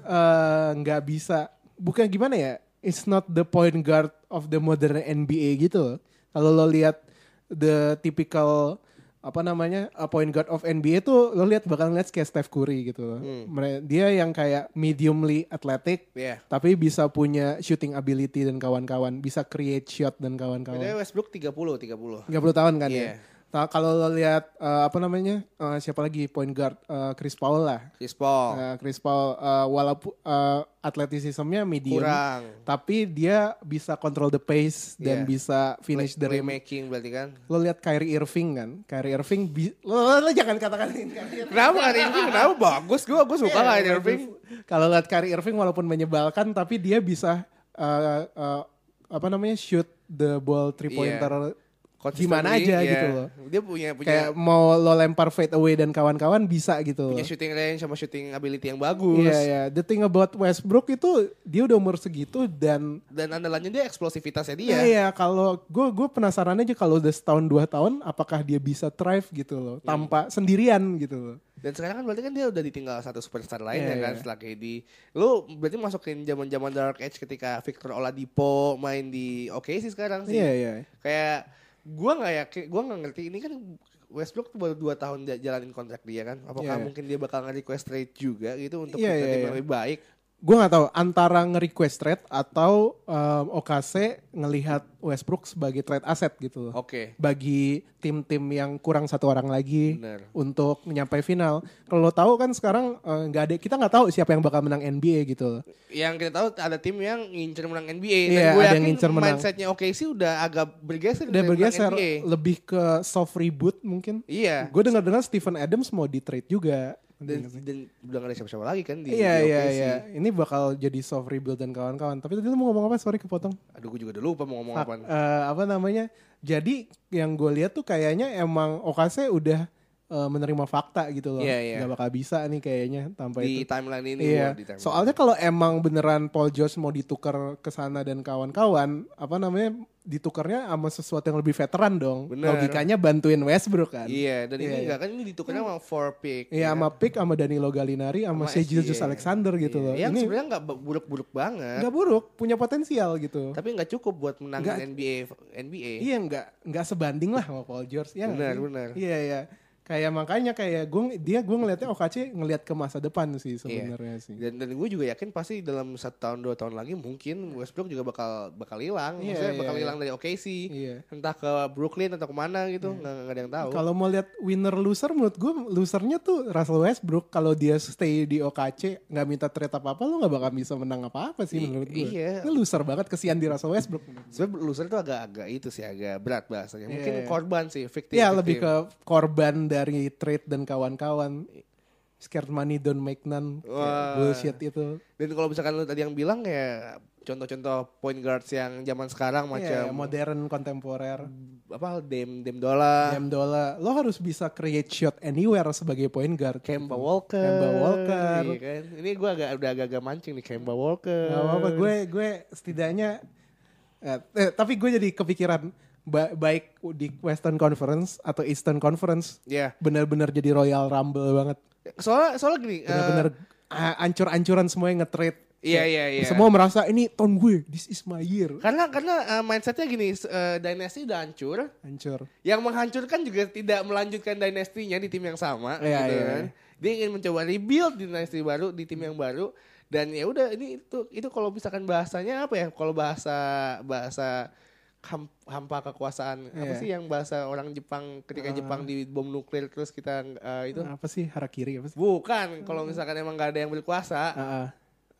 S2: eh, nggak bisa. Bukan gimana ya? It's not the point guard of the modern NBA gitu. Kalau lo lihat the typical apa namanya a point guard of NBA tuh lo lihat bakal ngeliat kayak Steph Curry gitu.
S1: Hmm.
S2: Mere- Dia yang kayak mediumly athletic,
S1: Iya.
S2: tapi bisa punya shooting ability dan kawan-kawan, bisa create shot dan kawan-kawan.
S1: Btw Westbrook 30 30
S2: 30 tahun kan
S1: Iya.
S2: ya. Ta- kalau lo lihat eh, apa namanya? eh, siapa lagi point guard Eh, Chris Paul lah.
S1: Chris Paul
S2: Eh, Chris Paul eh, walaupun eh, atletisismnya medium
S1: kurang
S2: tapi dia bisa control the pace dan
S1: Iya.
S2: bisa finish
S1: Play-
S2: dari
S1: playmaking berarti kan
S2: lo lihat Kyrie Irving kan. Kyrie Irving bi- lo, lo- lo jangan katakan ini Kyrie Irving.
S1: Kenapa Kyrie Irving? Kenapa bagus? Gue gue suka
S2: Iya,
S1: Kyrie Irving.
S2: Kalau lihat Kyrie Irving walaupun menyebalkan tapi dia bisa eh, eh, apa namanya? shoot the ball three pointer gimana
S1: Iya. Consistently,
S2: aja
S1: iya.
S2: gitu loh.
S1: Dia punya punya
S2: kayak mau lo lempar fade away dan kawan-kawan bisa gitu.
S1: punya shooting range sama shooting ability yang bagus.
S2: Iya iya. The thing about Westbrook itu dia udah umur segitu dan
S1: Dan andalannya dia eksplosivitasnya dia.
S2: Iya, iya, kalau gue gue penasaran aja kalau udah setahun dua tahun apakah dia bisa thrive gitu loh
S1: Iya,
S2: tanpa sendirian gitu loh.
S1: Dan sekarang kan berarti kan dia udah ditinggal satu superstar lainnya
S2: Iya,
S1: kan
S2: iya.
S1: setelah KD. Lu berarti masukin zaman-zaman Dark Age ketika Victor Oladipo main di OKC sekarang sih.
S2: Iya iya.
S1: Kayak gua nggak yakin, gua nggak ngerti ini kan Westbrook tuh baru 2 tahun dia- jalanin kontrak dia kan. Apakah
S2: Iya.
S1: mungkin dia bakal nge-request trade juga gitu untuk
S2: Iya,
S1: kita
S2: iya,
S1: tim
S2: iya.
S1: yang lebih baik?
S2: Gue nggak tahu antara nge-request trade atau um, OKC ngelihat Westbrook sebagai trade aset gitu loh.
S1: Oke.
S2: bagi tim-tim yang kurang satu orang lagi
S1: Bener.
S2: untuk menyampai final. Kalau lo tahu kan sekarang eh, nggak ada kita nggak tahu siapa yang bakal menang NBA gitu. loh.
S1: yang kita tahu ada tim yang ngincer menang NBA
S2: Iya,
S1: dan gue
S2: ada
S1: yakin
S2: yang ngincer menang.
S1: mindsetnya OKC udah agak bergeser
S2: Udah
S1: dari
S2: bergeser
S1: menang NBA.
S2: lebih ke soft reboot mungkin.
S1: iya
S2: Gue dengar-dengar Stephen Adams mau di trade juga.
S1: dan dan udah gak ada siapa-siapa lagi kan di,
S2: Iya
S1: di
S2: iya
S1: OKC
S2: iya. Ini bakal jadi soft rebuild dan kawan-kawan. Tapi tadi lu mau ngomong apa? Sorry kepotong.
S1: aduh gue juga udah lupa mau ngomong apa
S2: Fak- eh, apa namanya? Jadi yang gue lihat tuh kayaknya emang OKC udah eh, menerima fakta gitu loh.
S1: Iya, iya.
S2: Nggak bakal bisa nih kayaknya tanpa
S1: di
S2: itu.
S1: timeline ini Ward,
S2: Iya.
S1: di timeline.
S2: Soalnya kalau emang beneran Paul George mau ditukar ke sana dan kawan-kawan, apa namanya? ditukarnya sama sesuatu yang lebih veteran dong.
S1: Bener.
S2: Logikanya bantuin Westbrook kan.
S1: iya dan ini
S2: Iya,
S1: enggak kan ini ditukar sama four pick ya kan?
S2: Iya, sama Pick, sama Danilo Gallinari, sama
S1: Sama
S2: Shai Gilgeous
S1: SGA.
S2: Alexander gitu loh.
S1: yang
S2: Ini
S1: sebenarnya nggak ba- buruk-buruk banget
S2: nggak buruk, punya potensial gitu.
S1: tapi nggak cukup buat menangin
S2: Nggak-
S1: NBA f- NBA
S2: Iya nggak nggak sebanding lah sama Paul George ya nggak
S1: Benar,
S2: sih?
S1: benar.
S2: Iya iya kayak makanya kayak gue dia gue ngelihatnya OKC ngelihat ke masa depan sih
S1: Iya.
S2: sebenarnya sih.
S1: dan dan gue juga yakin pasti dalam satu tahun dua tahun lagi mungkin Westbrook juga bakal bakal hilang
S2: Iya,
S1: maksudnya
S2: iya,
S1: bakal
S2: iya.
S1: hilang dari OKC
S2: Iya.
S1: entah ke Brooklyn atau kemana gitu nggak nggak ada yang tahu
S2: Kalau mau lihat winner loser menurut gue losernya tuh Russell Westbrook kalau dia stay di OKC nggak minta trade apa apa lo nggak bakal bisa menang apa apa
S1: I-
S2: sih menurut gue.
S1: iya.
S2: Ini loser banget kesian di Russell Westbrook.
S1: sebenarnya loser itu agak-agak itu sih agak berat bahasanya mungkin
S2: Iya, iya.
S1: korban sih fiktif
S2: Iya lebih ke korban dari trade dan kawan-kawan. Scared money don't make none. Kayak
S1: Wah.
S2: Bullshit itu.
S1: dan kalau misalkan lu tadi yang bilang ya contoh-contoh point guards yang zaman sekarang
S2: Iya,
S1: macam
S2: modern kontemporer.
S1: apa Dem Dem Dola,
S2: Dame Dola, lo harus bisa create shot anywhere sebagai point guard. Gitu.
S1: Kemba Walker.
S2: Kemba Walker.
S1: Iya kan? Ini gua agak udah agak-agak mancing nih Kemba Walker.
S2: Gak apa-apa, gue gue setidaknya eh, eh, tapi gue jadi kepikiran ba- baik di Western Conference atau Eastern Conference
S1: Ya.
S2: benar-benar jadi Royal Rumble banget.
S1: Soalnya soalnya gini, eh,
S2: Benar-benar a- ancur-ancuran semuanya nge-trade.
S1: Iya, iya, iya.
S2: Semua merasa ini tahun gue, this is my year.
S1: karena karena eh, mindsetnya gini, s- eh, dinasti udah hancur,
S2: Hancur.
S1: yang menghancurkan juga tidak melanjutkan dinastinya di tim yang sama
S2: Iya,
S1: gitu
S2: iya,
S1: kan. Dia ingin mencoba rebuild dinasti baru di tim yang baru dan ya udah ini itu itu kalau misalkan bahasanya apa ya? Kalau bahasa bahasa ham- hampa kekuasaan apa
S2: Iya. Ah.
S1: sih yang bahasa orang Jepang ketika Jepang dibom nuklir terus kita eh, itu
S2: Apa sih harakiri apa sih?
S1: bukan kalau misalkan emang gak ada yang berkuasa
S2: Ah, ah.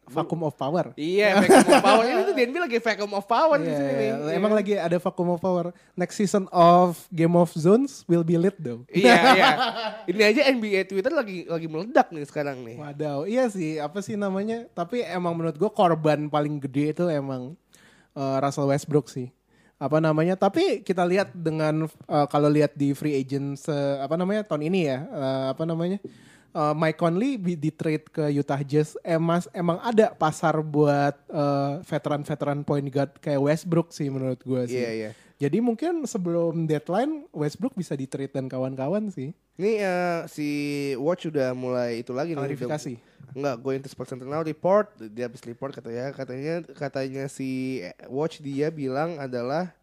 S2: vacuum of power.
S1: iya vacuum of power ini tuh DNB lagi vacuum of power di
S2: Iya,
S1: sini
S2: iya.
S1: nih. Iya.
S2: Emang lagi ada vacuum of power. Next season of Game of Zones will be lit though.
S1: iya iya ini aja NBA Twitter lagi lagi meledak nih sekarang nih
S2: Wadaw, iya sih, apa sih namanya? Tapi emang menurut gue korban paling gede itu emang eh, Russell Westbrook sih. Apa namanya? Tapi kita lihat dengan eh, kalau lihat di free agent se- apa namanya tahun ini ya, eh, apa namanya? Eh, Mike Conley bi- di trade ke Utah Jazz, emas emang ada pasar buat eh, veteran-veteran point guard kayak Westbrook sih menurut gue sih.
S1: Iya, iya.
S2: Jadi mungkin sebelum deadline Westbrook bisa di trade dan kawan-kawan sih.
S1: Ini eh, si Watch udah mulai itu lagi nih.
S2: Klarifikasi.
S1: udah- Enggak, going to Sports Sentinel report. Dia habis report katanya. Katanya katanya si Watch dia bilang adalah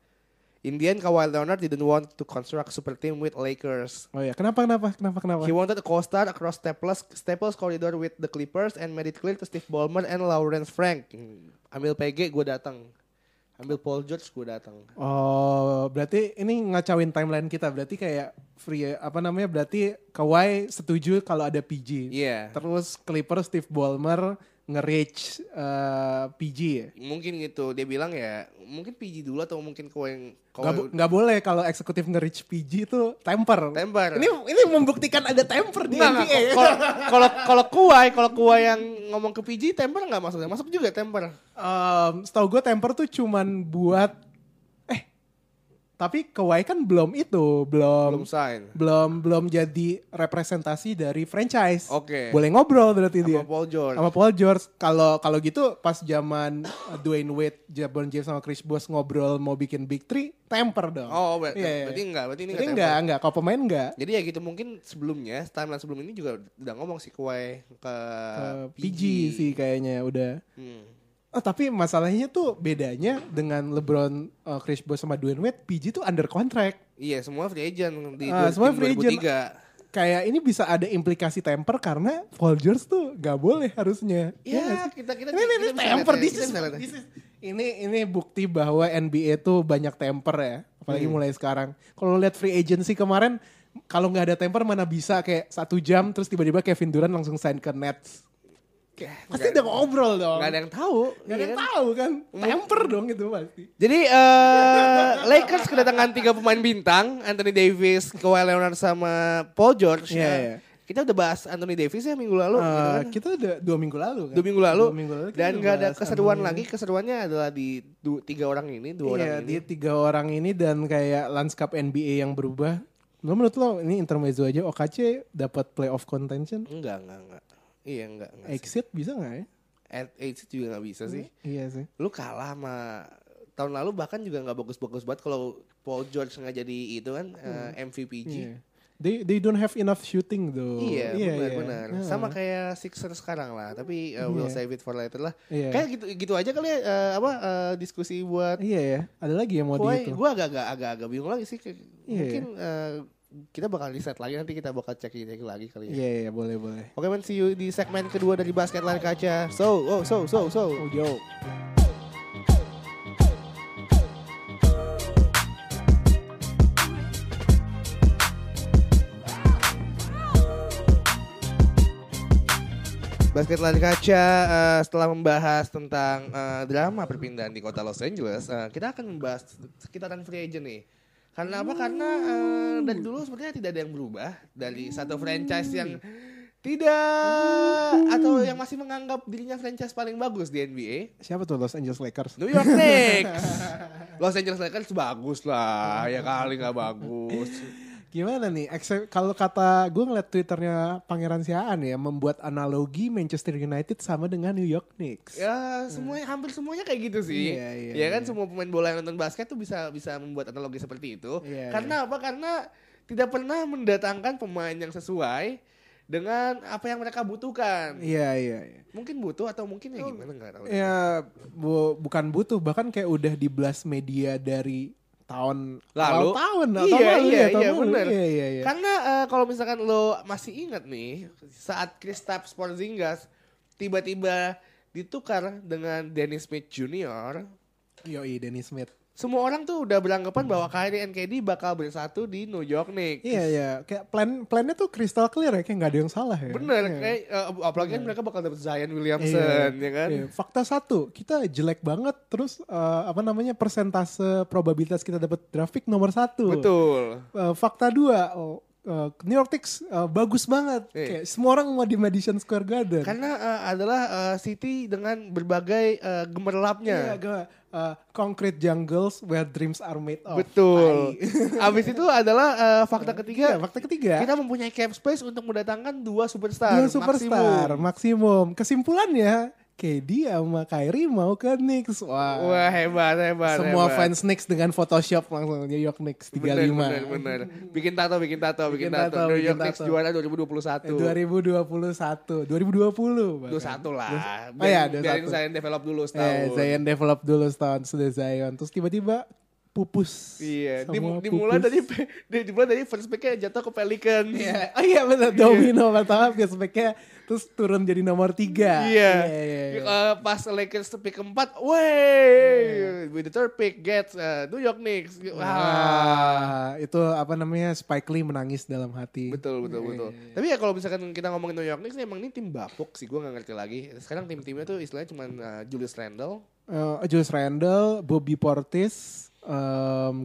S1: Indian Kawhi Leonard didn't want to construct super team with Lakers.
S2: Oh ya, kenapa kenapa kenapa kenapa?
S1: He wanted a co-star across Staples, Staples corridor with the Clippers and made it clear to Steve Ballmer and Lawrence Frank. Hmm, Ambil PG, gue datang. Ambil Paul George, gue datang.
S2: Oh, berarti ini ngacauin timeline kita. Berarti kayak free apa namanya? Berarti Kawhi setuju kalau ada PG.
S1: Iya.
S2: Terus Clippers Steve Ballmer nge-reach eh, PG ya.
S1: Mungkin gitu. Dia bilang ya, mungkin PG dulu atau mungkin Kawhi yang
S2: Nggak, bo- nggak boleh kalau eksekutif nge-reach PG itu temper.
S1: Temper.
S2: Ini ini membuktikan ada temper di
S1: Nggak,
S2: NBA.
S1: nggak. Kalau kalau kalau kuai, kalau kuai yang ngomong ke PG temper nggak masuk, masuk juga temper.
S2: Em, setahu gue temper tuh cuman buat eh tapi Kawhi kan belum itu, belum
S1: Belum sign.
S2: belum belum jadi representasi dari franchise.
S1: Oke.
S2: Boleh ngobrol berarti dia.
S1: Sama Paul George.
S2: Iya. Sama Paul George. Kalau kalau gitu pas zaman uh, Dwayne Wade, Jabron James sama Chris Bosh ngobrol mau bikin big three, temper dong.
S1: Oh, ber-
S2: Iya, iya.
S1: berarti enggak, berarti ini
S2: Berarti
S1: enggak
S2: enggak,
S1: temper.
S2: enggak. Kalau pemain enggak.
S1: Jadi ya gitu mungkin sebelumnya timeline sebelum ini juga udah ngomong si kuai ke,
S2: Eh, PG sih kayaknya udah.
S1: Hmm.
S2: Oh, tapi masalahnya tuh bedanya dengan LeBron, uh, Chris Bosh sama Dwayne Wade, PG tuh under contract.
S1: Iya semua free agent di
S2: Ah,
S1: dua-
S2: semua
S1: tim
S2: free agent.
S1: 2003.
S2: Kayak ini bisa ada implikasi temper karena Paul George tuh gak boleh harusnya. Iya
S1: Ya
S2: nggak sih?
S1: kita kita
S2: ini ini, ini
S1: kita bisa
S2: temper
S1: lihat ya,
S2: this
S1: kita
S2: is,
S1: bisa lihat ya.
S2: this is- ini ini bukti bahwa NBA tuh banyak temper ya
S1: Hmm.
S2: apalagi mulai sekarang kalau lihat free agency kemarin kalau nggak ada temper mana bisa kayak satu jam terus tiba-tiba Kevin Durant langsung sign ke Nets pasti udah ngobrol dong
S1: Nggak ada yang tahu.
S2: Nggak ada
S1: iya
S2: yang
S1: kan?
S2: tahu kan temper dong itu pasti
S1: Jadi eh Lakers kedatangan tiga pemain bintang, Anthony Davis, Kawhi Leonard sama Paul George.
S2: Iya,
S1: Eh,
S2: iya.
S1: Kita udah bahas Anthony Davis ya minggu lalu,
S2: Eh,
S1: gitu kan.
S2: kita udah dua minggu lalu kan
S1: dua minggu lalu,
S2: Dua minggu lalu kita
S1: dan
S2: udah
S1: nggak ada
S2: bahas
S1: keseruan
S2: Anthony.
S1: lagi. Keseruannya adalah di du- tiga orang ini, dua orang
S2: Iya,
S1: ini.
S2: dia tiga orang ini dan kayak lanskap NBA yang berubah. Lo menurut lo ini intermezzo aja OKC dapat playoff contention?
S1: Enggak, enggak, enggak. Iya, enggak, enggak. sih.
S2: Exit bisa nggak ya?
S1: At eight sih juga nggak bisa sih.
S2: Iya sih.
S1: Lu kalah sama tahun lalu bahkan juga nggak bagus-bagus banget kalau Paul George nggak jadi itu kan eh, MVPG.
S2: Iya. They they don't have enough shooting though.
S1: Iya, benar
S2: iya.
S1: benar.
S2: Nah.
S1: Sama kayak Sixer sekarang lah, tapi uh, we'll
S2: Iya.
S1: save it for later lah.
S2: Iya.
S1: Kayak gitu gitu aja kali ya, uh, apa uh, diskusi buat
S2: Iya ya. Ada lagi yang mau di
S1: Kawhi.
S2: itu.
S1: Gua agak-agak agak-agak bingung lagi sih. Kayak-
S2: Iya.
S1: Mungkin uh, kita bakal riset lagi nanti kita bakal cek cek lagi kali ya.
S2: Iya iya boleh boleh.
S1: Oke, men, see you di segmen kedua dari basket layar kaca. So, oh, so, so, so.
S2: Oh yo.
S1: Basket Lari Kaca eh, setelah membahas tentang eh, drama perpindahan di kota Los Angeles, eh, kita akan membahas sekitaran free agent nih. Karena apa? Karena eh, dari dulu sepertinya tidak ada yang berubah dari satu franchise yang Tidak. Atau yang masih menganggap dirinya franchise paling bagus di NBA.
S2: Siapa tuh Los Angeles Lakers?
S1: New York Knicks. Los Angeles Lakers bagus lah. Ya kali nggak bagus.
S2: Gimana nih? Ekse- Kalau kata gue ngeliat twitternya Pangeran Siaan ya membuat analogi Manchester United sama dengan New York Knicks.
S1: Ya semuanya hampir semuanya kayak gitu sih.
S2: Hmm. Iya, iya,
S1: ya kan
S2: iya.
S1: semua pemain bola yang nonton basket tuh bisa bisa membuat analogi seperti itu.
S2: Iya,
S1: Karena apa? Karena tidak pernah mendatangkan pemain yang sesuai dengan apa yang mereka butuhkan.
S2: Iya iya. iya.
S1: Mungkin butuh atau mungkin ya gimana nggak tahu.
S2: Ya
S1: gitu.
S2: bu- bukan butuh bahkan kayak udah di blast media dari tahun
S1: Lalu.
S2: awal tahun
S1: Iya,
S2: atau lalu
S1: iya,
S2: ya, tahun
S1: iya,
S2: lalu.
S1: bener.
S2: Iya iya iya.
S1: Karena eh, kalau misalkan lo masih ingat nih saat Kristaps Porzingis tiba-tiba ditukar dengan Dennis Smith Jr.
S2: Yoi Dennis Smith.
S1: Semua orang tuh udah beranggapan bahwa Kyrie and KD bakal bersatu di New York Knicks.
S2: Iya iya. Kayak plan plannya tuh crystal clear ya kayak nggak ada yang salah ya.
S1: Bener,
S2: Iya.
S1: kayak eh, apalagi kan mereka bakal dapet Zion Williamson,
S2: Iya.
S1: ya kan?
S2: Iya. Fakta satu, kita jelek banget. Terus eh, apa namanya persentase probabilitas kita dapat grafik nomor satu.
S1: Betul.
S2: Eh, fakta dua, oh, eh, New York Knicks eh, bagus banget.
S1: Iya.
S2: Kayak semua orang mau di Madison Square Garden.
S1: Karena eh, adalah eh, city dengan berbagai eh,
S2: Iya,
S1: gemerlapnya.
S2: gua, eh, concrete jungles where dreams are made of.
S1: Betul.
S2: oh, Tai.
S1: Abis itu adalah eh, fakta
S2: Iya,
S1: ketiga,
S2: fakta ketiga.
S1: kita mempunyai cap space untuk mendatangkan dua superstar.
S2: dua superstar
S1: maksimum.
S2: maksimum. Kesimpulannya, KD sama Kyrie mau ke Knicks. Wah.
S1: Wah hebat hebat.
S2: Semua
S1: hebat.
S2: fans Knicks dengan Photoshop langsung New York Knicks 35.
S1: Bener, bener, bener. Bikin tato, bikin tato, bikin,
S2: Bikin
S1: tato. New
S2: tato, bikin
S1: York Knicks
S2: tato.
S1: juara
S2: Eh,
S1: 2021. 21 lah. Biarin-
S2: 2021, 2020. bahkan. Oh iya,
S1: biarin
S2: 21.
S1: Zion develop dulu
S2: Eh,
S1: setahun.
S2: Zion develop dulu setahun sudah Zion. Terus tiba-tiba pupus.
S1: Iya,
S2: Semua
S1: dim- dimulai
S2: pupus.
S1: dari di- dimulai dari first pick-nya jatuh ke Pelican.
S2: Iya, oh iya benar domino pertama prospeknya terus turun jadi nomor tiga.
S1: Iya.
S2: iya, iya.
S1: Eh, pas Lakers pick keempat,
S2: iya.
S1: wey, with the third pick gets eh, New York Knicks. Ah, Wah.
S2: Wah, Ah, itu apa namanya Spike Lee menangis dalam hati.
S1: Betul, betul, betul.
S2: Iya,
S1: Tapi ya kalau misalkan kita ngomongin New York Knicks, emang ini tim bapuk sih, gue gak ngerti lagi. Sekarang tim-timnya tuh istilahnya cuma eh, Julius Randle.
S2: Eh, Julius Randle, Bobby Portis,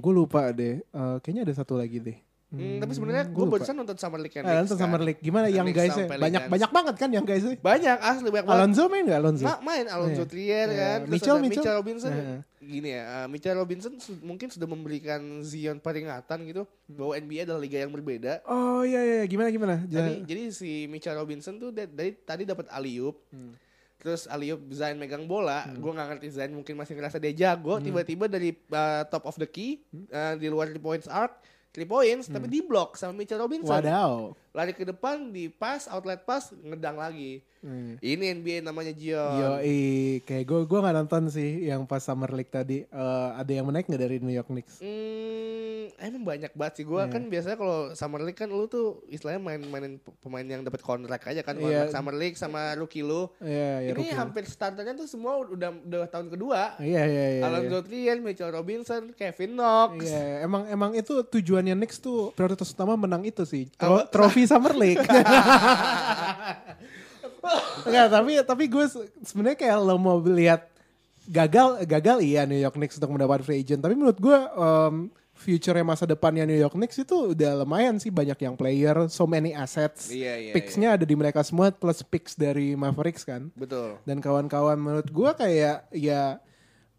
S2: gue lupa deh. Eh, kayaknya ada satu lagi deh.
S1: Hmm, tapi sebenarnya gue
S2: gua lupa.
S1: barusan nonton Summer League
S2: Eh,
S1: kan.
S2: nonton Summer League gimana yang
S1: Knicks
S2: guys
S1: sama
S2: banyak
S1: Pelicans.
S2: banyak banget kan yang guys
S1: Banyak, asli banyak banget.
S2: Alonzo main nggak Alonzo?
S1: Ma- main Alonso
S2: Iya.
S1: Trier
S2: Iya.
S1: kan, terus
S2: Mitchell,
S1: ada
S2: Mitchell.
S1: Mitchell Robinson.
S2: Iya.
S1: Gini ya, eh, Mitchell Robinson su- mungkin sudah memberikan Zion peringatan gitu bahwa NBA adalah liga yang berbeda.
S2: Oh iya iya gimana gimana?
S1: Jadi
S2: Jangan-
S1: jadi si Mitchell Robinson tuh da- dari tadi dapat alley-oop.
S2: Hmm.
S1: Terus alley-oop Zion megang bola, gua nggak ngerti Zion mungkin masih ngerasa dia
S2: Hmm.
S1: jago, tiba-tiba dari eh, top of the key eh, di luar 3 points arc, 3 points
S2: Hmm.
S1: tapi di block sama Mitchell Robinson.
S2: Wadaw.
S1: Lari ke depan di pass outlet pass ngedang lagi.
S2: Hmm.
S1: Ini NBA namanya
S2: Yo,
S1: Zion.
S2: kayak gue gue nggak nonton sih yang pas Summer League tadi. Eh, ada yang menaik nggak dari New York Knicks?
S1: Hmm, emang banyak banget sih gua
S2: Iya.
S1: kan biasanya kalau summer league kan lu tuh istilahnya main-mainin p- pemain yang dapat kontrak aja kan
S2: Iya.
S1: kontrak summer league sama rookie lu.
S2: Iya, iya,
S1: Ini
S2: rookie.
S1: hampir starternya tuh semua udah udah tahun kedua.
S2: Iya, iya, iya. iya.
S1: Alonzo Trier, Mitchell Robinson, Kevin Knox.
S2: Iya, emang emang itu tujuannya Knicks tuh prioritas utama menang itu sih. Tro- trofi Summer League. Enggak, tapi tapi gue se- sebenarnya kayak lo mau lihat gagal gagal iya New York Knicks untuk mendapat free agent, tapi menurut gue em future masa depannya New York Knicks itu udah lumayan sih banyak yang player, so many assets.
S1: Iya, iya,
S2: Picks-nya ada di mereka semua plus picks dari Mavericks kan
S1: Betul.
S2: dan kawan-kawan menurut gua kayak ya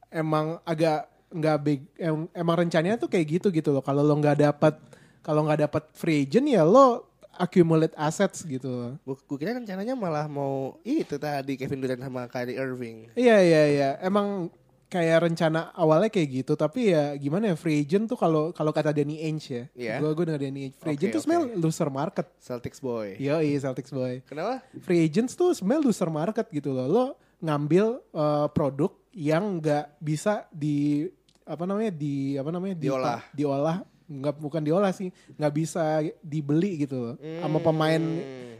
S2: emang agak nggak big em- emang rencananya tuh kayak gitu gitu loh kalau lo nggak dapat kalau nggak dapat free agent ya lo accumulate assets gitu loh.
S1: Gua, gua kira rencananya malah mau itu tadi Kevin Durant sama Kyrie Irving.
S2: Iya iya iya emang kayak rencana awalnya kayak gitu tapi ya gimana ya free agent tuh kalau kalau kata Danny Ainge ya
S1: Iya.
S2: gua gua dengar Danny Ainge
S1: Oke,
S2: free agent
S1: oke.
S2: tuh
S1: Iya.
S2: sebenarnya loser market
S1: Celtics boy.
S2: yo Celtics boy
S1: Kenapa?
S2: free agents tuh sebenarnya loser market gitu loh. Lo ngambil eh, produk yang nggak bisa di apa namanya di apa namanya di-
S1: Diolah.
S2: diolah nggak bukan diolah sih nggak bisa dibeli gitu loh sama pemain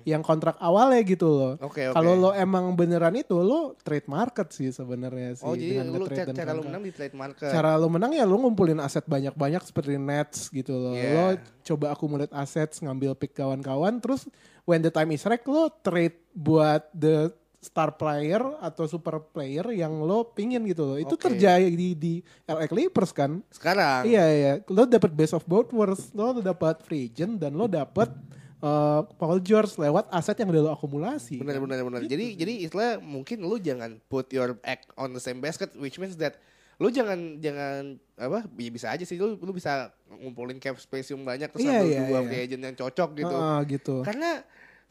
S2: yang kontrak awalnya gitu loh.
S1: Hmm. Oke, oke.
S2: Kalau lo emang beneran itu lo trade market sih sebenarnya sih
S1: Oh, jadi
S2: dengan
S1: lu
S2: nge-trade
S1: ca-
S2: dan
S1: cara lu
S2: kontrak
S1: menang di trade market.
S2: cara lo menang ya lo ngumpulin aset banyak-banyak seperti Nets gitu loh. Lo
S1: Yeah.
S2: coba akumulate aset, ngambil pick kawan-kawan, terus when the time is right lo trade buat the star player atau super player yang lo pingin gitu loh. Itu
S1: Oke.
S2: terjadi di, di LA Clippers kan.
S1: Sekarang.
S2: Iya iya, lo dapat best of both worlds, lo dapat free agent dan lo dapat eh, Paul George lewat aset yang udah lo akumulasi.
S1: Benar benar benar.
S2: Gitu
S1: Jadi jadi istilah mungkin lu jangan put your egg on the same basket which means that lu jangan jangan apa ya bisa aja sih lu lu bisa ngumpulin cap space yang banyak terus
S2: Iya,
S1: ambil
S2: iya,
S1: dua
S2: iya.
S1: free agent yang cocok gitu.
S2: Heeh, gitu.
S1: Karena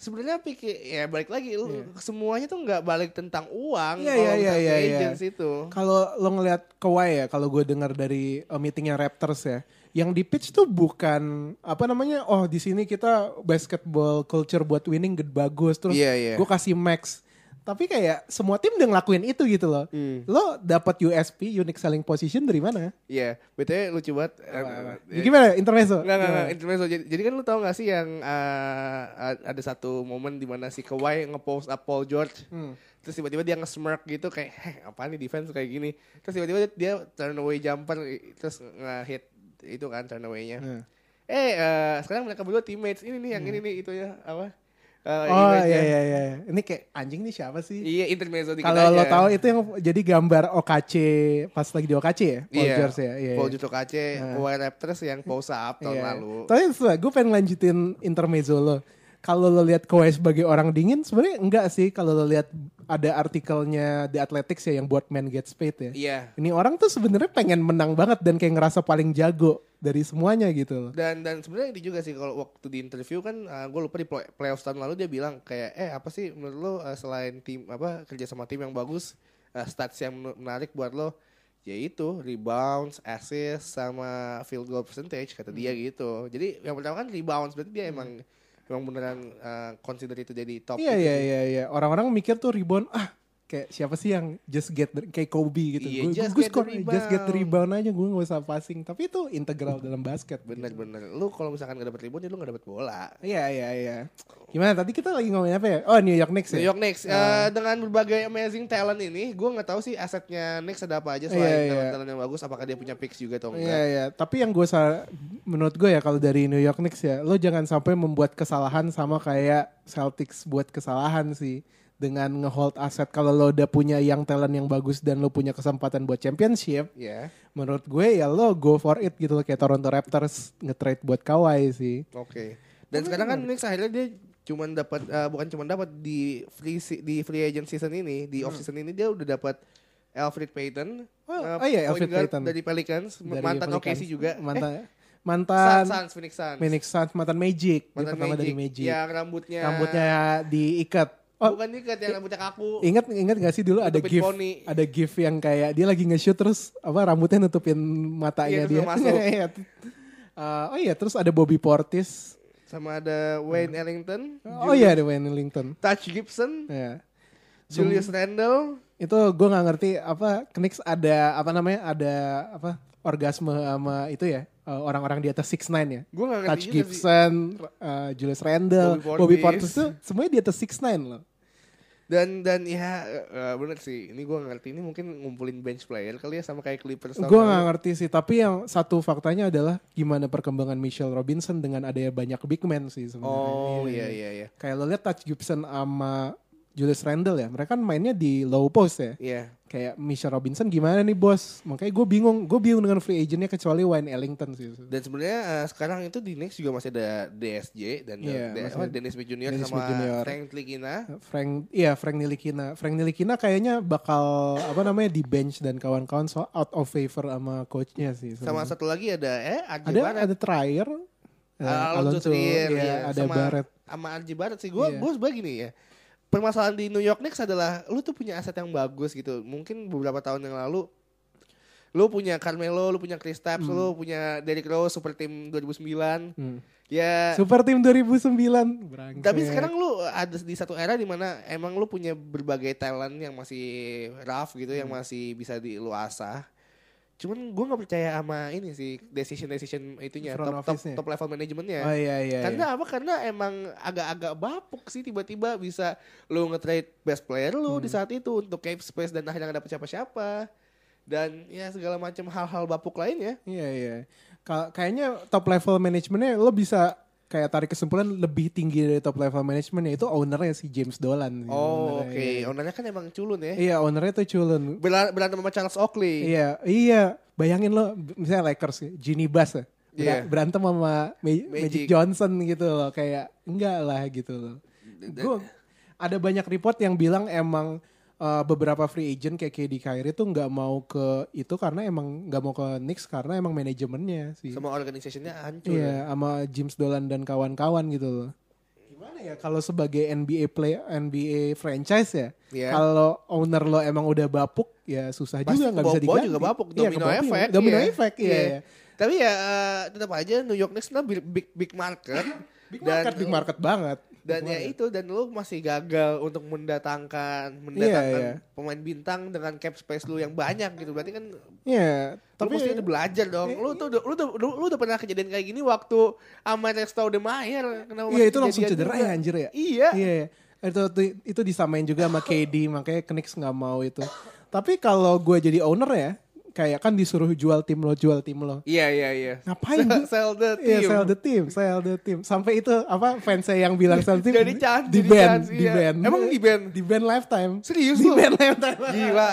S1: sebenarnya pikir ya balik lagi lu semuanya tuh nggak balik tentang uang
S2: Iya,
S1: kalau
S2: iya, iya,
S1: tentang
S2: iya, iya.
S1: agents itu.
S2: Kalau lo ngelihat Kawhi ya, kalau gue dengar dari uh, meetingnya Raptors ya, yang di pitch tuh bukan apa namanya, oh di sini kita basketball culture buat winning gede bagus terus
S1: Iya, iya.
S2: gue kasih max. Tapi kayak semua tim udah ngelakuin itu gitu loh.
S1: Hmm.
S2: Lo dapat USP unique selling position dari mana?
S1: Iya, btw lucu banget. Eh,
S2: Gimana intermezzo?
S1: Enggak, enggak,
S2: Gimana?
S1: enggak. Intermezzo. Jadi, jadi kan lu tau gak sih yang eh, a- ada satu momen di mana si Kawhi ngepost up Paul George.
S2: Hmm.
S1: Terus tiba-tiba dia nge-smirk gitu kayak, heh apa nih defense kayak gini. Terus tiba-tiba dia turn away jumper, i- terus nge-hit itu kan turn away-nya.
S2: Hmm.
S1: Eh, eh, sekarang mereka berdua teammates. Ini nih, yang ini nih, itu ya, apa? Eh,
S2: Oh
S1: image-nya.
S2: iya iya iya. Ini kayak anjing nih siapa sih?
S1: Iya, intermezzo dikit
S2: Kalau lo
S1: aja.
S2: tahu itu yang jadi gambar OKC pas lagi di OKC ya, Paul
S1: Iya,
S2: George ya. Iya,
S1: Paul
S2: iya.
S1: George Okace, Kawhi Raptors yang pose up tahun lalu.
S2: Tapi gue pengen lanjutin intermezzo lo. Kalau lo lihat Kawhi sebagai orang dingin, sebenarnya enggak sih. Kalau lo lihat ada artikelnya The Athletics ya yang buat Man Gets Paid ya.
S1: Iya.
S2: Ini orang tuh sebenarnya pengen menang banget dan kayak ngerasa paling jago dari semuanya gitu. loh.
S1: dan dan sebenarnya itu juga sih kalau waktu di interview kan gue lupa di play- playoffs tahun lalu dia bilang kayak eh apa sih menurut lo eh, selain tim apa kerja sama tim yang bagus eh, stats yang men- menarik buat lo yaitu rebounds, assist sama field goal percentage kata dia
S2: Hmm.
S1: gitu. Jadi yang pertama kan rebounds berarti dia emang emang beneran eh, consider itu jadi top.
S2: Iya
S1: gitu
S2: iya
S1: sih.
S2: iya iya. Orang-orang mikir tuh rebound ah kayak siapa sih yang just get the- kayak Kobe gitu.
S1: Iya,
S2: Gua-
S1: just
S2: gua
S1: get the
S2: score, just get the
S1: rebound.
S2: rebound aja gue nggak usah passing. Tapi itu integral dalam basket.
S1: Bener-bener. Lu kalau misalkan gak dapet rebound ya lu gak dapet bola.
S2: Iya iya iya. Gimana tadi kita lagi ngomongin apa ya? Oh New York Knicks ya.
S1: New York Knicks eh, dengan berbagai amazing talent ini, gue nggak tahu sih asetnya Knicks ada apa aja selain
S2: Iya, iya.
S1: talent-talent yang bagus. Apakah dia punya picks juga atau
S2: Iya
S1: enggak?
S2: iya, tapi yang gue sar- menurut gue ya kalau dari New York Knicks ya, lo jangan sampai membuat kesalahan sama kayak Celtics buat kesalahan sih dengan ngehold aset kalau lo udah punya yang talent yang bagus dan lo punya kesempatan buat championship,
S1: Iya.
S2: menurut gue ya lo go for it gitu loh kayak Toronto Raptors nge-trade buat Kawhi sih.
S1: Oke. Dan sekarang kan Knicks akhirnya dia cuman dapat eh, bukan cuman dapat di free se- di free agent season ini, di off season ini dia udah dapat Alfred Payton.
S2: Hmm.
S1: eh,
S2: Oh, oh iya,
S1: point
S2: Alfred
S1: guard
S2: Payton.
S1: dari Pelicans,
S2: Dari
S1: mantan
S2: Pelicans.
S1: OKC juga.
S2: Mantan
S1: Eh, Suns,
S2: mantan
S1: Suns, Phoenix Suns.
S2: Phoenix Suns, mantan Magic, dia
S1: Mantan Iya,
S2: pertama dari Magic.
S1: Yang rambutnya
S2: Rambutnya diikat. Oh,
S1: bukan diikat yang rambutnya kaku.
S2: Ingat ingat gak sih dulu ada
S1: Nutupin
S2: gif
S1: poni.
S2: ada gif yang kayak dia lagi nge-shoot terus apa rambutnya nutupin
S1: Iya,
S2: matanya
S1: terus
S2: dia.
S1: nggak masuk.
S2: Iya. Eh, oh iya terus ada Bobby Portis.
S1: Sama ada Wayne Ellington.
S2: Oh iya ada Wayne Ellington.
S1: Touch Gibson.
S2: Iya.
S1: Julius Randle
S2: Itu gue nggak ngerti apa Knicks ada apa namanya ada apa orgasme sama itu ya eh, orang-orang di atas 69 ya.
S1: Gue gak ngerti
S2: Touch
S1: juga sih
S2: Gibson, eh, Julius Randle,
S1: Bobby
S2: Bobby
S1: Portis.
S2: Portis, tuh semuanya di atas 69 loh.
S1: Dan dan ya eh, bener sih Ini gue gak ngerti Ini mungkin ngumpulin bench player kali ya Sama kayak Clippers tahun
S2: Gue
S1: lalu.
S2: nggak ngerti sih, tapi yang satu faktanya adalah gimana perkembangan Michelle Robinson dengan adanya banyak big man sih sebenarnya.
S1: Oh iya iya iya
S2: Kayak lo lihat Touch Gibson sama Julius Randle ya, mereka kan mainnya di low post ya.
S1: Iya
S2: Kayak Michelle Robinson gimana nih bos? Makanya gue bingung, gue bingung dengan free agentnya kecuali Wayne Ellington sih.
S1: Dan sebenarnya eh, sekarang itu di Knicks juga masih ada DSJ Dan
S2: Iya,
S1: dan-
S2: masih
S1: apa,
S2: ada
S1: Dennis Smith Junior
S2: Dennis
S1: Sama
S2: Smith Jr.
S1: Frank Tlikina
S2: Frank, iya Frank Nilikina. Frank Nilikina kayaknya bakal apa namanya di bench dan kawan-kawan so out of favor sama coachnya sih.
S1: Sama
S2: sebenarnya.
S1: satu lagi ada Eh RJ
S2: ada
S1: Barrett
S2: ada Trier, eh,
S1: Alonso Ah, Trier
S2: iya,
S1: iya.
S2: ada
S1: sama,
S2: Barrett.
S1: Sama RJ Barrett sih Gue
S2: Iya.
S1: gue sebenernya gini ya Permasalahan di New York Knicks adalah Lu tuh punya aset yang bagus gitu Mungkin beberapa tahun yang lalu Lu punya Carmelo, lu punya Chris Tapps, lu punya Derrick Rose Super Team 2009
S2: Hmm.
S1: Ya
S2: Super Team 2009. Berangkat.
S1: tapi sekarang lu ada di satu era di mana emang lu punya berbagai talent yang masih rough gitu, yang
S2: Hmm.
S1: masih bisa di lu asah. Cuman gue nggak percaya sama ini sih decision decision itunya
S2: Front
S1: top, top
S2: office-nya.
S1: top level manajemennya.
S2: Oh iya iya.
S1: Karena apa? Karena emang agak-agak bapuk sih tiba-tiba bisa lu nge-trade best player lu di
S2: Hmm.
S1: saat itu untuk cap space dan akhirnya gak dapet siapa-siapa. Dan ya segala macam hal-hal bapuk lainnya.
S2: iya. Iya iya. Ka- kayaknya top level manajemennya lo bisa kayak tarik kesimpulan lebih tinggi dari top level manajemen yaitu ownernya si James Dolan. sih
S1: Oh, oke.
S2: sebenarnya, iya.
S1: Ownernya kan emang culun ya.
S2: Iya ownernya tuh culun.
S1: Bela- Berantem sama Charles Oakley.
S2: Iya iya. Bayangin lo misalnya Lakers, ya, Ginny Bass ya.
S1: Iya.
S2: Bera- berantem sama Ma- Magic.
S1: Magic.
S2: Johnson gitu loh kayak enggak lah gitu loh. Gue ada banyak report yang bilang emang uh, beberapa free agent kayak KD Kyrie tuh nggak mau ke itu karena emang nggak mau ke Knicks karena emang manajemennya sih.
S1: Sama organisasinya hancur.
S2: Iya, sama James Dolan dan kawan-kawan gitu loh. Gimana ya kalau sebagai NBA play NBA franchise ya?
S1: Iya.
S2: Kalau owner lo emang udah bapuk ya susah
S1: Pasti
S2: juga nggak bisa
S1: kebawa-bawa
S2: diganti.
S1: juga bapuk.
S2: Iya,
S1: Domino
S2: kebawa-bawa.
S1: effect.
S2: Domino
S1: iya.
S2: effect, iya.
S1: Iya.
S2: iya.
S1: Tapi ya eh, tetap aja New York Knicks kan big, big, big market.
S2: Big
S1: Dan-
S2: market, big market banget.
S1: Dan ya itu dan lu masih gagal untuk mendatangkan
S2: Iya,
S1: mendatangkan pemain bintang dengan cap space lu yang banyak gitu. Berarti kan
S2: Iya,
S1: tapi
S2: tapi ya, iya.
S1: lu mesti udah belajar dong. Lu tuh udah, lu, udah, lu, lu udah pernah kejadian kayak gini waktu sama Resto de Mayer. Kenapa
S2: Iya
S1: masih
S2: itu langsung
S1: kejadian
S2: cedera
S1: juga?
S2: ya anjir ya.
S1: Iya.
S2: Iya. iya. Itu, itu itu disamain juga sama KD makanya Knicks nggak mau itu. Tapi kalau gue jadi owner ya, kayak kan disuruh jual tim lo, jual tim lo.
S1: Iya iya iya.
S2: Ngapain
S1: Sell-
S2: gue?
S1: Sell the
S2: Iya,
S1: team.
S2: sell the team, sell the team. Sampai itu apa fans yang bilang sell the team
S1: Jadi chance,
S2: di
S1: jadi
S2: band,
S1: chance,
S2: di
S1: iya.
S2: band.
S1: Emang di band?
S2: Di band lifetime.
S1: Serius
S2: Di
S1: lu?
S2: band lifetime.
S1: Gila.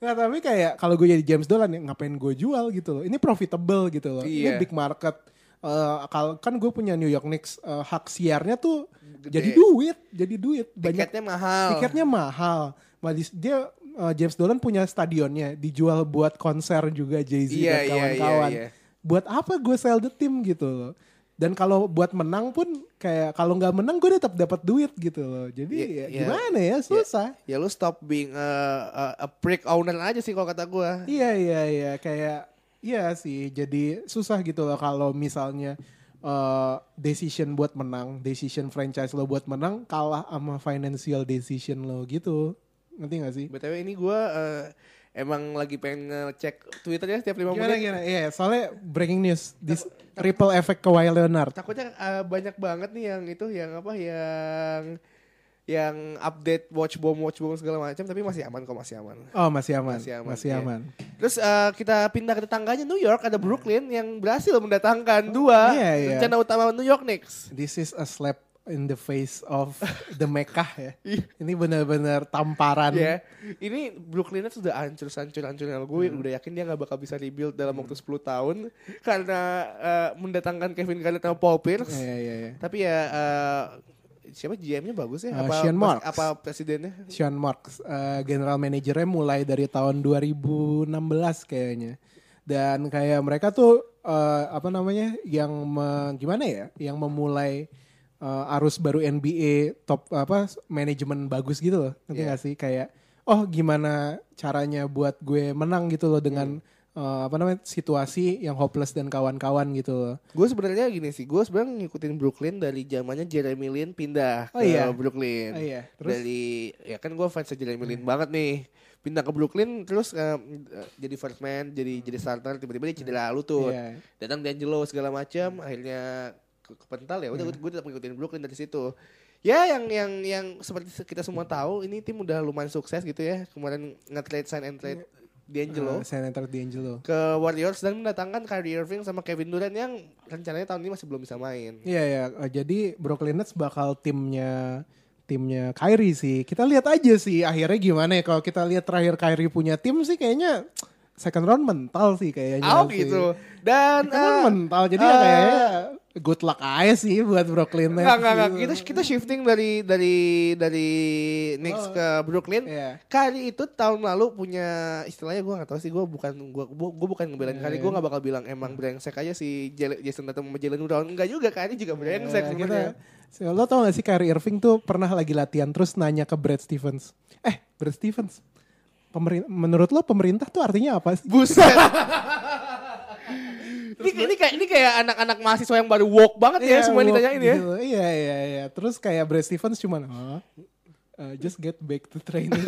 S2: Nah tapi kayak kalau gue jadi James Dolan ya ngapain gue jual gitu loh. Ini profitable gitu loh.
S1: Iya.
S2: Ini big market. Eh, kalau kan gue punya New York Knicks eh, hak siarnya tuh
S1: Gede.
S2: jadi duit, jadi duit banyak.
S1: Tiketnya mahal.
S2: Tiketnya mahal. Malis- Dia eh, James Dolan punya stadionnya dijual buat konser juga Jay Z
S1: Iya,
S2: dan
S1: iya,
S2: kawan-kawan.
S1: iya, iya.
S2: Buat apa gue sell the team gitu loh. Dan kalau buat menang pun kayak kalau nggak menang gue tetap dapat duit gitu loh. Jadi
S1: Iya, iya.
S2: ya gimana ya susah.
S1: Ya lu stop being a, a- a prick owner aja sih kalau kata gua.
S2: Iya iya iya kayak iya sih jadi susah gitu loh kalau misalnya eh, decision buat menang, decision franchise lo buat menang kalah sama financial decision lo gitu. Ngerti gak sih?
S1: BTW ini gua eh, emang lagi pengen ngecek Twitter ya setiap 5
S2: Gimana
S1: menit.
S2: gimana? Iya, soalnya breaking news this ripple effect Kawhi Leonard.
S1: Takutnya eh, banyak banget nih yang itu yang apa yang yang update watch bomb watch bomb segala macam tapi masih aman kok masih aman.
S2: Oh, masih aman. Masih
S1: Masih
S2: aman.
S1: aman, iya. Terus eh, kita pindah ke tetangganya New York ada Brooklyn yang berhasil mendatangkan dua
S2: Iya, iya.
S1: rencana utama New York Knicks.
S2: This is a slap in the face of the Mekah ya. Ini benar-benar tamparan.
S1: Ya, ini Brooklyn Nets sudah hancur hancur hancur gue
S2: Hmm.
S1: udah yakin dia nggak bakal bisa rebuild dalam waktu 10 tahun karena eh, mendatangkan Kevin Garnett sama Paul Pierce.
S2: Iya iya iya.
S1: Tapi ya eh, siapa GM-nya bagus ya?
S2: Eh,
S1: apa
S2: Sean
S1: pres-
S2: Marks.
S1: apa presidennya?
S2: Sean Marks, eh, general manajernya mulai dari tahun 2016 kayaknya. Dan kayak mereka tuh eh, apa namanya yang me- gimana ya, yang memulai eh, arus baru NBA top apa manajemen bagus gitu loh. Ngerti
S1: Iya.
S2: gak sih kayak oh gimana caranya buat gue menang gitu loh dengan eh, apa namanya situasi yang hopeless dan kawan-kawan gitu loh.
S1: Gue sebenarnya gini sih, gue sebenarnya ngikutin Brooklyn dari zamannya Jeremy Lin pindah ke
S2: Oh, iya.
S1: Brooklyn.
S2: Oh, iya. Terus? Hmm.
S1: Dari ya kan gue fans Jeremy Lin banget nih. Pindah ke Brooklyn terus eh, jadi first man, jadi jadi starter tiba-tiba dia cedera lutut.
S2: Hmm. Iya. Hmm.
S1: Datang D'Angelo segala macam, akhirnya ke- kepental ya. Udah gue tetap ngikutin Brooklyn dari situ. Ya yang yang yang seperti kita semua tahu ini tim udah lumayan sukses gitu ya. Kemarin nge-trade sign and trade D'Angelo
S2: Eh, Senator D'Angelo.
S1: ke Warriors dan mendatangkan Kyrie Irving sama Kevin Durant yang rencananya tahun ini masih belum bisa main.
S2: Iya ya, eh, jadi Brooklyn Nets bakal timnya timnya Kyrie sih. Kita lihat aja sih akhirnya gimana ya. Kalau kita lihat terakhir Kyrie punya tim sih kayaknya second round mental sih kayaknya.
S1: Oh
S2: sih.
S1: gitu. Dan
S2: Second round
S1: eh,
S2: mental. Jadi
S1: eh,
S2: ya kayaknya good luck aja sih buat Brooklyn Nets.
S1: Enggak, enggak, enggak.
S2: gitu.
S1: Kita kita shifting dari dari dari Knicks ke Brooklyn.
S2: Oh. Iya.
S1: Kari itu tahun lalu punya istilahnya gue nggak tahu sih gue bukan gue gue bukan ngebelain Kari
S2: Iya.
S1: gue nggak bakal bilang emang brengsek aja si Jale- Jason Tatum sama Jalen Brown enggak juga Kari juga brengsek
S2: Ya, kita,
S1: sebenarnya.
S2: so, lo tau gak sih Kyrie Irving tuh pernah lagi latihan terus nanya ke Brad Stevens. Eh, Brad Stevens. pemerin- menurut lo pemerintah tuh artinya apa sih?
S1: Buset. ini, ini kayak ini kayak anak-anak mahasiswa yang baru woke banget ya semua
S2: walk
S1: ditanyain ya.
S2: gitu. Iya, iya, iya. Terus kayak Brad Stevens cuman, "Huh? Uh, just get back to training.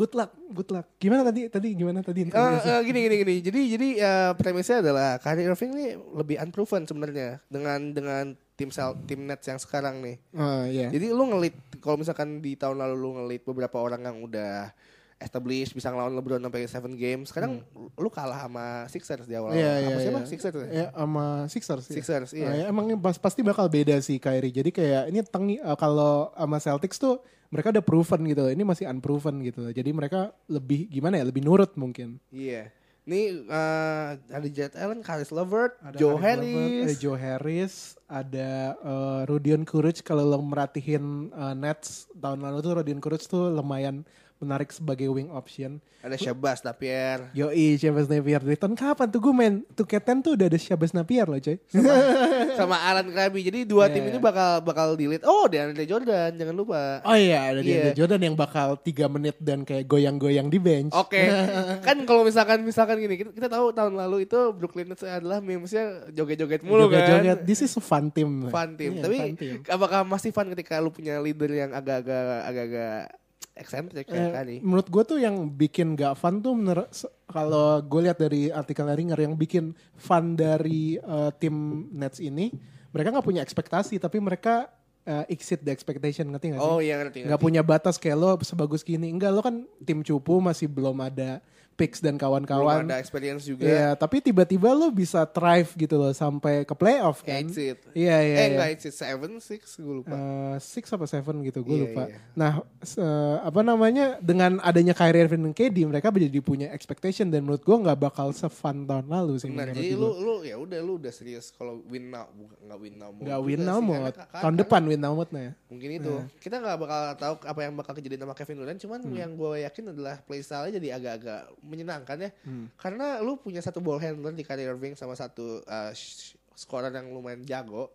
S2: good luck, good luck. Gimana tadi? Tadi gimana
S1: Eh,
S2: tadi?
S1: eh, gini gini gini. Jadi jadi eh, premisnya adalah Kyrie Irving ini lebih unproven sebenarnya dengan dengan tim sel, tim Nets yang sekarang nih.
S2: Ah, iya.
S1: Jadi lu ngelit kalau misalkan di tahun lalu lu ngelit beberapa orang yang udah established bisa ngelawan LeBron sampai 7 games. Sekarang lu kalah sama Sixers di awal.
S2: Iya,
S1: Apa
S2: iya,
S1: siapa?
S2: iya.
S1: Sixers. ya?
S2: Ya, sama Sixers. ya.
S1: Sixers, iya.
S2: Ah, ya, emang pas- pasti bakal beda sih Kyrie. Jadi kayak ini tengi eh, kalau sama Celtics tuh mereka udah proven gitu. Ini masih unproven gitu. Jadi mereka lebih gimana ya? Lebih nurut mungkin.
S1: Iya. Nih eh, ada Jared Allen, Karis Levert,
S2: Ada
S1: Joe
S2: Karim Levert,
S1: Harris.
S2: Ada Joe Harris, ada eh, Rudion Kuruc kalau lo merhatiin eh, Nets tahun lalu tuh Rudion Kuruc tuh lumayan menarik sebagai wing option.
S1: Ada Shabazz Napier.
S2: Yoi, Shabazz Napier. Dari tahun kapan tuh gue main 2K10 tuh udah ada Shabazz Napier loh coy.
S1: sama Alan Krabi. Jadi dua
S2: Iya,
S1: tim
S2: iya.
S1: ini bakal bakal delete. Oh, DeAndre Jordan, jangan lupa.
S2: Oh iya, ada
S1: Iya.
S2: DeAndre Jordan yang bakal 3 menit dan kayak goyang-goyang di bench.
S1: Oke, kan kalau misalkan misalkan gini, kita, kita tahu tahun lalu itu Brooklyn Nets adalah memesnya joget-joget mulu kan.
S2: Joget-joget. This is a fun team.
S1: Fun team.
S2: Iya,
S1: Tapi
S2: fun team.
S1: apakah masih fun ketika lu punya leader yang agak-agak agak-agak kan? Iya. eksentrik
S2: Eh,
S1: kayak tadi?
S2: menurut gue tuh yang bikin gak fun tuh menurut se- kalau gue lihat dari artikel Ringer yang bikin fun dari eh, tim Nets ini mereka nggak punya ekspektasi tapi mereka eh, exceed the expectation ngerti gak sih?
S1: Oh iya ngerti.
S2: nggak
S1: ngerti.
S2: punya batas kayak lo sebagus gini enggak lo kan tim cupu masih belum ada picks dan
S1: Belum
S2: kawan-kawan
S1: ada experience juga.
S2: Iya, tapi tiba-tiba lo bisa thrive gitu loh sampai ke playoff kan?
S1: Exit.
S2: Iya,
S1: eh
S2: iya. iya.
S1: enggak exit seven six gue lupa.
S2: Eh, six apa seven gitu gue
S1: Iya,
S2: lupa.
S1: iya.
S2: Nah se- apa namanya dengan adanya Kyrie Irving dan KD mereka jadi punya expectation dan menurut gue nggak bakal se-fun tahun lalu sih.
S1: Benar.
S2: menurut
S1: Jadi
S2: Iya, gua.
S1: lu lu ya udah lu udah serius kalau win now bukan nggak win now mode
S2: nggak win
S1: juga
S2: now
S1: sih,
S2: mode
S1: karena kakak- kan
S2: tahun
S1: karena-
S2: depan Iya. win now ya. mode nya.
S1: Mungkin itu. Kita nggak bakal tahu apa yang bakal kejadian sama Kevin Durant, cuman
S2: Hmm.
S1: yang gue yakin adalah playstyle-nya jadi agak-agak menyenangkan ya. Karena lu punya satu ball handler di Kyrie Irving sama satu uh, sh- scorer yang lumayan jago.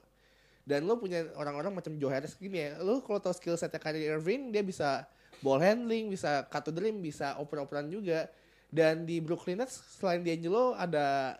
S1: Dan lu punya orang-orang macam Joe Harris gini ya. Lu kalau tau skill setnya Kyrie Irving, dia bisa ball handling, bisa cut to the rim, bisa oper-operan juga. Dan di Brooklyn Nets selain D'Angelo ada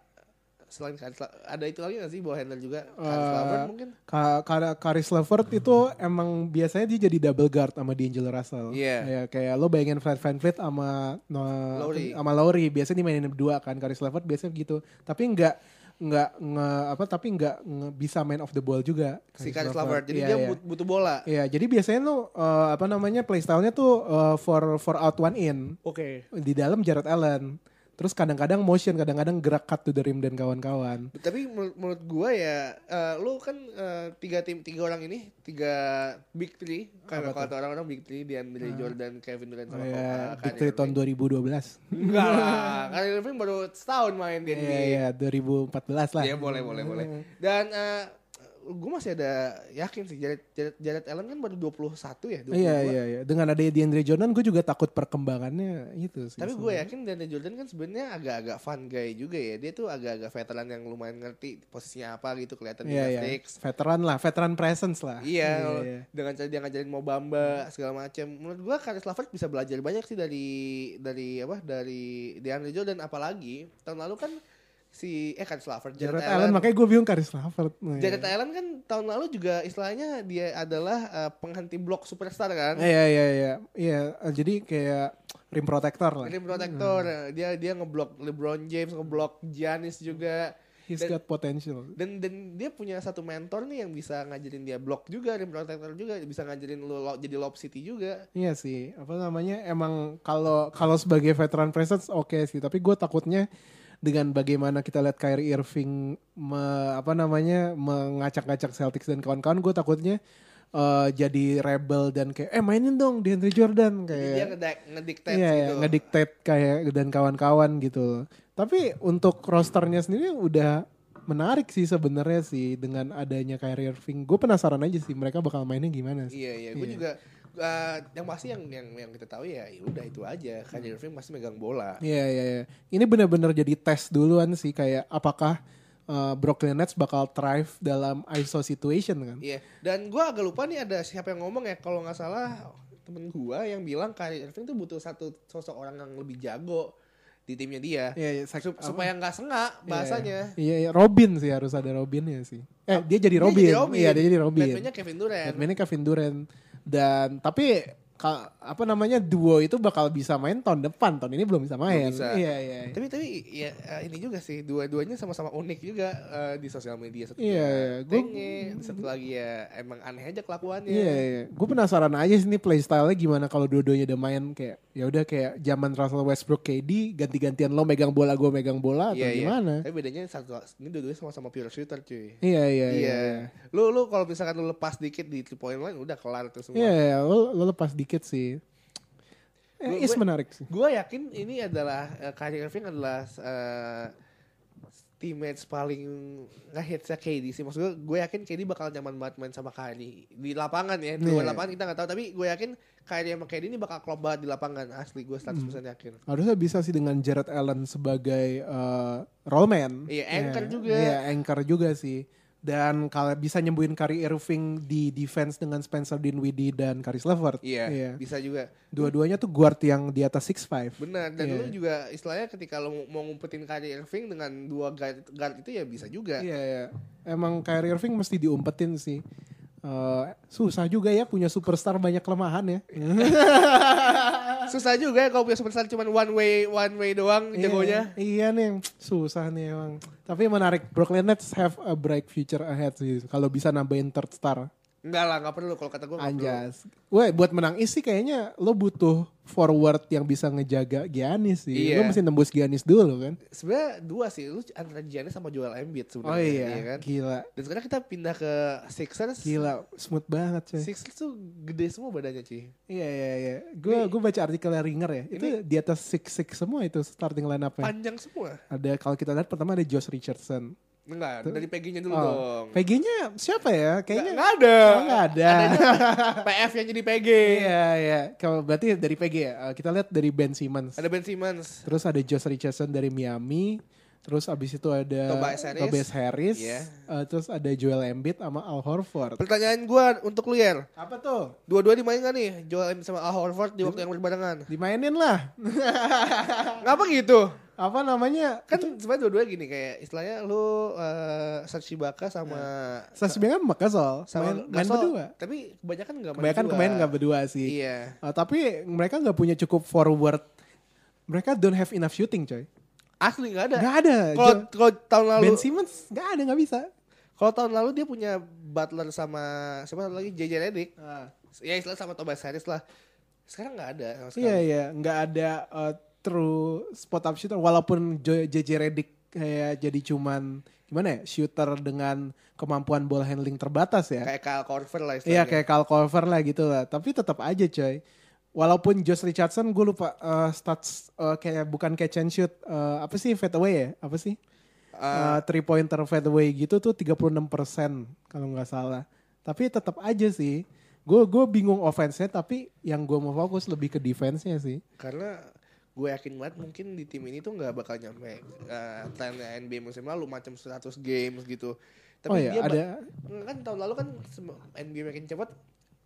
S1: selain Karis La- ada itu lagi nggak sih ball handler juga? Karis
S2: Eh,
S1: Lavert mungkin?
S2: Ka Ka- Karis Levert itu emang biasanya dia jadi double guard sama D'Angelo Russell.
S1: Iya.
S2: Ya, kayak lo bayangin Fred VanVleet sama no,
S1: Lowry.
S2: sama Lowry biasanya dimainin berdua kan Karis Levert biasanya gitu. Tapi nggak nggak nge- apa tapi nggak nge- bisa main off the ball juga
S1: Si Karis Lavert. Jadi
S2: Iya,
S1: dia
S2: iya.
S1: but- butuh bola.
S2: Iya, jadi biasanya lo eh, apa namanya playstyle-nya tuh eh, for for out one in
S1: Oke.
S2: di dalam Jared Allen. Terus kadang-kadang motion, kadang-kadang gerak cut to the rim dan kawan-kawan.
S1: Tapi menurut, menurut gua ya, eh, lu kan eh, tiga tim tiga orang ini tiga big three. Kalau
S2: Apa
S1: kata
S2: tuh? Ah.
S1: orang-orang big three DeAndre Jordan, Kevin Durant
S2: Oh,
S1: sama
S2: iya,
S1: Ka-
S2: Big Three
S1: Kyrie
S2: tahun
S1: Irving.
S2: 2012.
S1: Enggak lah, Kyrie Irving baru setahun main di NBA.
S2: Iya, iya, 2014 lah. Iya, Hmm.
S1: Ya boleh boleh boleh. Dan eh gue masih ada yakin sih Jared, Jared, Jared Allen kan baru 21 ya. 22.
S2: Iya, iya, iya. Dengan adanya DeAndre Jordan, gue juga takut perkembangannya itu sih.
S1: Tapi gue yakin Daniel Jordan kan sebenarnya agak-agak fun guy juga ya. Dia tuh agak-agak veteran yang lumayan ngerti posisinya apa gitu kelihatan
S2: Iya,
S1: di
S2: iya.
S1: Celtics.
S2: Veteran lah, veteran presence lah.
S1: Iya, dengan cara dia ngajarin mau bamba segala macam. Menurut gua Karis Lavert bisa belajar banyak sih dari dari apa dari DeAndre Jordan apalagi tahun lalu kan si eh Karis Lavert
S2: Jared Allen, makanya gue bingung Karis Levert. Nah,
S1: Jared
S2: iya.
S1: Allen kan tahun lalu juga istilahnya dia adalah eh, penghanti blok superstar kan.
S2: Iya, iya, iya. Iya, jadi kayak rim protector lah.
S1: Ini protektor, dia dia ngeblok LeBron James, ngeblok Giannis juga.
S2: He's
S1: Dan-
S2: got potential.
S1: dan dan dia punya satu mentor nih yang bisa ngajarin dia blok juga, rim protector juga, bisa ngajarin lu lo- jadi lob city juga.
S2: Iya sih, apa namanya emang kalau kalau sebagai veteran presence oke sih, tapi gue takutnya dengan bagaimana kita lihat Kyrie Irving me- apa namanya mengacak-ngacak Celtics dan kawan-kawan, gue takutnya eh, jadi rebel dan kayak eh mainin dong DeAndre Jordan
S1: Jadi
S2: kayak
S1: dia ngedik ngedikte
S2: iya, iya,
S1: gitu.
S2: ngedictate kayak dan kawan-kawan gitu. Tapi untuk rosternya sendiri udah menarik sih sebenarnya sih dengan adanya Kyrie Irving. Gue penasaran aja sih mereka bakal mainnya gimana sih.
S1: Iya iya, gue
S2: Iya.
S1: juga eh, yang pasti yang yang yang kita tahu ya, ya udah itu aja.
S2: Hmm.
S1: Kyrie Irving pasti megang bola.
S2: Iya iya iya. Ini benar-benar jadi tes duluan sih kayak apakah uh, Brooklyn Nets bakal thrive dalam ISO situation kan?
S1: Iya. Dan gue agak lupa nih ada siapa yang ngomong ya kalau nggak salah temen gue yang bilang Kyrie Irving tuh butuh satu sosok orang yang lebih jago di timnya dia
S2: Iya iya. sak-
S1: Sup-
S2: apa?
S1: supaya nggak sengak
S2: Iya,
S1: bahasanya.
S2: Iya, iya. Robin sih harus ada Robinnya sih. Eh dia jadi Robin. Iya dia jadi Robin.
S1: Batman-nya Kevin Durant.
S2: Batman-nya Kevin Durant dan tapi ka- apa namanya duo itu bakal bisa main tahun depan tahun ini belum bisa main.
S1: bisa.
S2: Iya iya. iya.
S1: Tapi tapi ya eh, ini juga sih dua-duanya sama-sama unik juga eh, di sosial media satu
S2: Iya, iya.
S1: ya
S2: Gua-
S1: tenge, satu lagi ya emang aneh aja kelakuannya.
S2: Iya, iya. gue penasaran aja sih nih playstyle-nya gimana kalau dua-duanya udah main kayak ya udah kayak zaman Russell Westbrook KD ganti-gantian lo megang bola gue megang bola atau
S1: Iya, iya.
S2: gimana?
S1: Tapi bedanya satu ini dua-duanya sama-sama pure shooter cuy.
S2: Iya iya iya.
S1: Iya. Lu lu kalau misalkan lu lepas dikit di three point line udah kelar tuh
S2: Iya
S1: semua.
S2: iya, lo, lo lepas dikit sih. Eh,
S1: Gua-
S2: is
S1: gua-
S2: menarik sih.
S1: Gue yakin ini adalah eh, Kyrie Irving adalah eh, teammates paling ngehitsnya KD sih. Maksud gue, gue yakin KD bakal nyaman banget main sama Kyrie di lapangan ya. Di luar
S2: Iya.
S1: lapangan kita nggak tahu, tapi gue yakin Kyrie sama KD ini bakal klop banget di lapangan asli. Gue 100%
S2: Hmm.
S1: yakin.
S2: Harusnya bisa sih dengan Jared Allen sebagai eh, role man.
S1: Iya, anchor
S2: Iya,
S1: juga.
S2: Iya, anchor juga sih. Dan kalau bisa nyembuhin Kyrie Irving di defense dengan Spencer Dinwiddie dan Caris Levert.
S1: Iya, bisa juga.
S2: Dua-duanya tuh guard yang di atas 6'5".
S1: Benar. Dan
S2: Iya.
S1: lu juga istilahnya ketika lu mau ngumpetin Kyrie Irving dengan dua guard, guard itu ya bisa juga.
S2: Iya, iya. Emang Kyrie Irving mesti diumpetin sih. Eh, susah juga ya punya superstar banyak kelemahan ya.
S1: Susah juga ya kalau punya superstar cuman one way one way doang jagonya.
S2: Iya, iya nih, susah nih emang. Tapi menarik, Brooklyn Nets have a bright future ahead sih. Kalau bisa nambahin third star,
S1: Enggak lah, nggak perlu kalau kata gue nggak perlu.
S2: anjas. Weh, buat menang isi kayaknya lo butuh forward yang bisa ngejaga Giannis sih.
S1: Iya.
S2: Lo mesti nembus Giannis dulu kan.
S1: Sebenarnya dua sih, lu antara Giannis sama Joel Embiid sebenarnya.
S2: Oh iya,
S1: iya kan?
S2: gila,
S1: Dan sekarang kita pindah ke Sixers.
S2: gila, smooth banget cuy.
S1: Sixers tuh gede semua badannya, Ci.
S2: Iya iya iya. Gue
S1: Ini-
S2: gue baca artikelnya Ringer ya. Itu di atas six six semua itu starting line up-nya.
S1: Panjang semua.
S2: Ada kalau kita lihat pertama ada Josh Richardson.
S1: Enggak,
S2: Tuh.
S1: dari PG-nya dulu
S2: Oh,
S1: dong.
S2: PG-nya siapa ya? Kayaknya
S1: Nggak ada.
S2: Oh, nggak ada.
S1: Adanya PF yang jadi PG.
S2: Iya iya. Kalau berarti dari PG ya. Eh, Kita lihat dari Ben Simmons.
S1: Ada Ben Simmons.
S2: Terus ada Josh Richardson dari Miami. Terus abis itu ada
S1: Tobias Harris.
S2: Harris.
S1: Iya.
S2: Eh, terus ada Joel Embiid sama Al Horford.
S1: Pertanyaan gua untuk lu, Yer.
S2: Apa tuh?
S1: Dua-dua dimain gak nih? Joel Embiid sama Al Horford di waktu yang berbarengan.
S2: Dimainin lah.
S1: Ngapa gitu?
S2: Apa namanya?
S1: Kan sebenarnya dua-dua gini kayak istilahnya lu eh Serge Ibaka sama
S2: Sasbina sama Gasol.
S1: sama
S2: Iya. main, main
S1: Gasol,
S2: berdua.
S1: Tapi kebanyakan nggak main
S2: Kebanyakan
S1: berdua.
S2: kemarin nggak berdua sih.
S1: Iya.
S2: Uh, tapi mereka nggak punya cukup forward. Mereka don't have enough shooting, coy.
S1: Asli nggak ada.
S2: Nggak ada.
S1: Kalau
S2: Jo-
S1: kalau tahun lalu,
S2: ben Simmons nggak ada, nggak bisa.
S1: kalau tahun lalu dia punya Butler sama siapa satu lagi JJ Redick. Ya istilah sama Tobias Harris lah. Sekarang nggak ada sama sekali.
S2: Ah. Iya iya, nggak ada uh, true spot up shooter. Walaupun Jo- JJ Redick kayak jadi cuman gimana ya shooter dengan kemampuan ball handling terbatas ya.
S1: Kayak Kyle Korver lah
S2: Iya
S1: istilahnya.
S2: kayak Kyle Korver lah gitu lah. Tapi tetap aja coy. Walaupun Josh Richardson gue lupa uh, stats uh, kayak bukan catch and shoot uh, apa sih fadeaway ya? Apa sih?
S1: Eh,
S2: Eh, three pointer fadeaway gitu tuh 36% kalau nggak salah. Tapi tetap aja sih. Gue gue bingung offense-nya tapi yang gue mau fokus lebih ke defense-nya sih.
S1: karena gue yakin banget mungkin di tim ini tuh nggak bakal nyampe eh trennya NBA musim lalu macam 100 games gitu. Tapi
S2: oh ya,
S1: dia ba-
S2: ada
S1: Nggak, kan tahun lalu kan sem- NBA makin cepat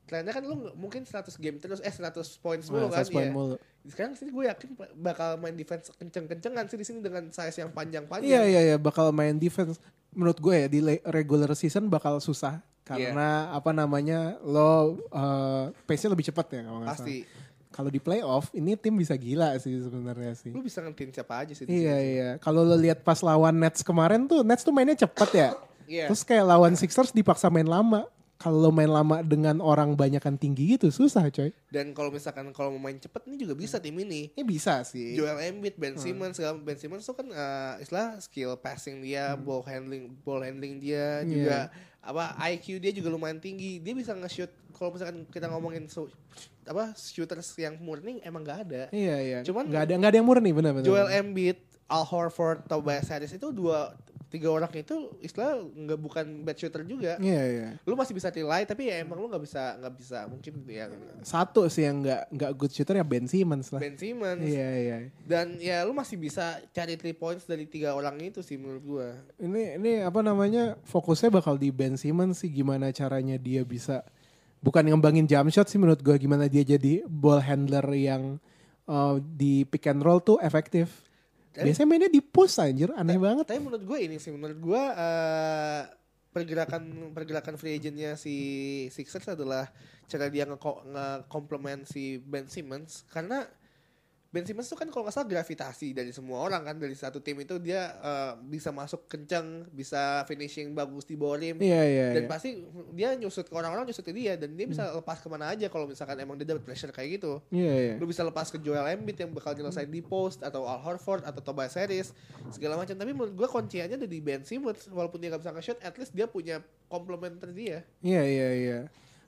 S1: trennya kan lu nggak- mungkin 100 game terus eh 100 points mulu
S2: Wah,
S1: kan
S2: satu Oh poin
S1: iya.
S2: Nah, mulu.
S1: sekarang sih gue yakin pa- bakal main defense kenceng-kencengan sih di sini dengan size yang
S2: Iya
S1: panjang-panjang
S2: iya iya bakal main defense. Menurut gue ya di le- regular season bakal susah
S1: Iya.
S2: karena apa namanya lo eh, pace-nya lebih cepat ya kalau nggak salah.
S1: pasti
S2: Kalau di playoff ini tim bisa gila sih sebenarnya sih.
S1: lu bisa ngertiin siapa aja Hmm, gitu sih di
S2: Iya
S1: sini.
S2: iya. Kalau lo lihat pas lawan Nets kemarin tuh Nets tuh mainnya cepet ya.
S1: Iya.
S2: Terus kayak lawan Sixers dipaksa main lama. Kalau lo main lama dengan orang banyakan tinggi gitu susah coy.
S1: dan kalau misalkan kalau mau main cepet ini juga bisa tim ini
S2: Ini bisa sih.
S1: Joel Embiid, Ben
S2: Hmm.
S1: Simmons, segala Ben Simmons tuh kan eh, istilah skill passing dia,
S2: Hmm.
S1: ball handling, ball handling dia
S2: Iya.
S1: juga apa IQ dia juga lumayan tinggi. Dia bisa nge-shoot kalau misalkan kita ngomongin so, apa shooters yang murni emang gak ada.
S2: Iya iya.
S1: Cuman-
S2: nggak ada nggak ada yang murni benar-benar.
S1: Joel Embiid, Al Horford, Tobias Harris itu dua tiga orang itu istilah nggak bukan bad shooter juga.
S2: Iya iya.
S1: Lu masih bisa nilai tapi ya emang lu nggak bisa nggak bisa mungkin ya
S2: Satu sih yang nggak nggak good shooter ya Ben Simmons lah.
S1: Ben Simmons
S2: Iya iya.
S1: dan ya lu masih bisa cari three points dari tiga orang itu sih menurut gua.
S2: Ini ini apa namanya fokusnya bakal di Ben Simmons sih gimana caranya dia bisa bukan ngembangin jump shot sih menurut gua gimana dia jadi ball handler yang uh, di pick and roll tuh efektif.
S1: Tapi-
S2: Biasanya mainnya di push anjir aneh banget.
S1: Tapi menurut gue ini sih, menurut gue eh, pergerakan pergerakan free agentnya si Sixers adalah cara dia ngeko- nge-complement si Ben Simmons karena Ben Simmons tuh kan kalau nggak salah gravitasi dari semua orang kan dari satu tim itu dia eh, bisa masuk kencang, bisa finishing bagus di bawah rim.
S2: Iya iya Hmm.
S1: Dan
S2: iya.
S1: pasti dia nyusut ke orang-orang nyusut ke dia dan dia bisa lepas kemana aja kalau misalkan emang dia dapat pressure kayak gitu
S2: Iya iya.
S1: lu bisa lepas ke Joel Embiid yang bakal nyelesain di post atau Al Horford atau Tobias Harris segala macam tapi menurut gua kunciannya ada di Ben Simmons walaupun dia gak bisa nge-shoot at least dia punya komplementer dia
S2: Iya iya iya.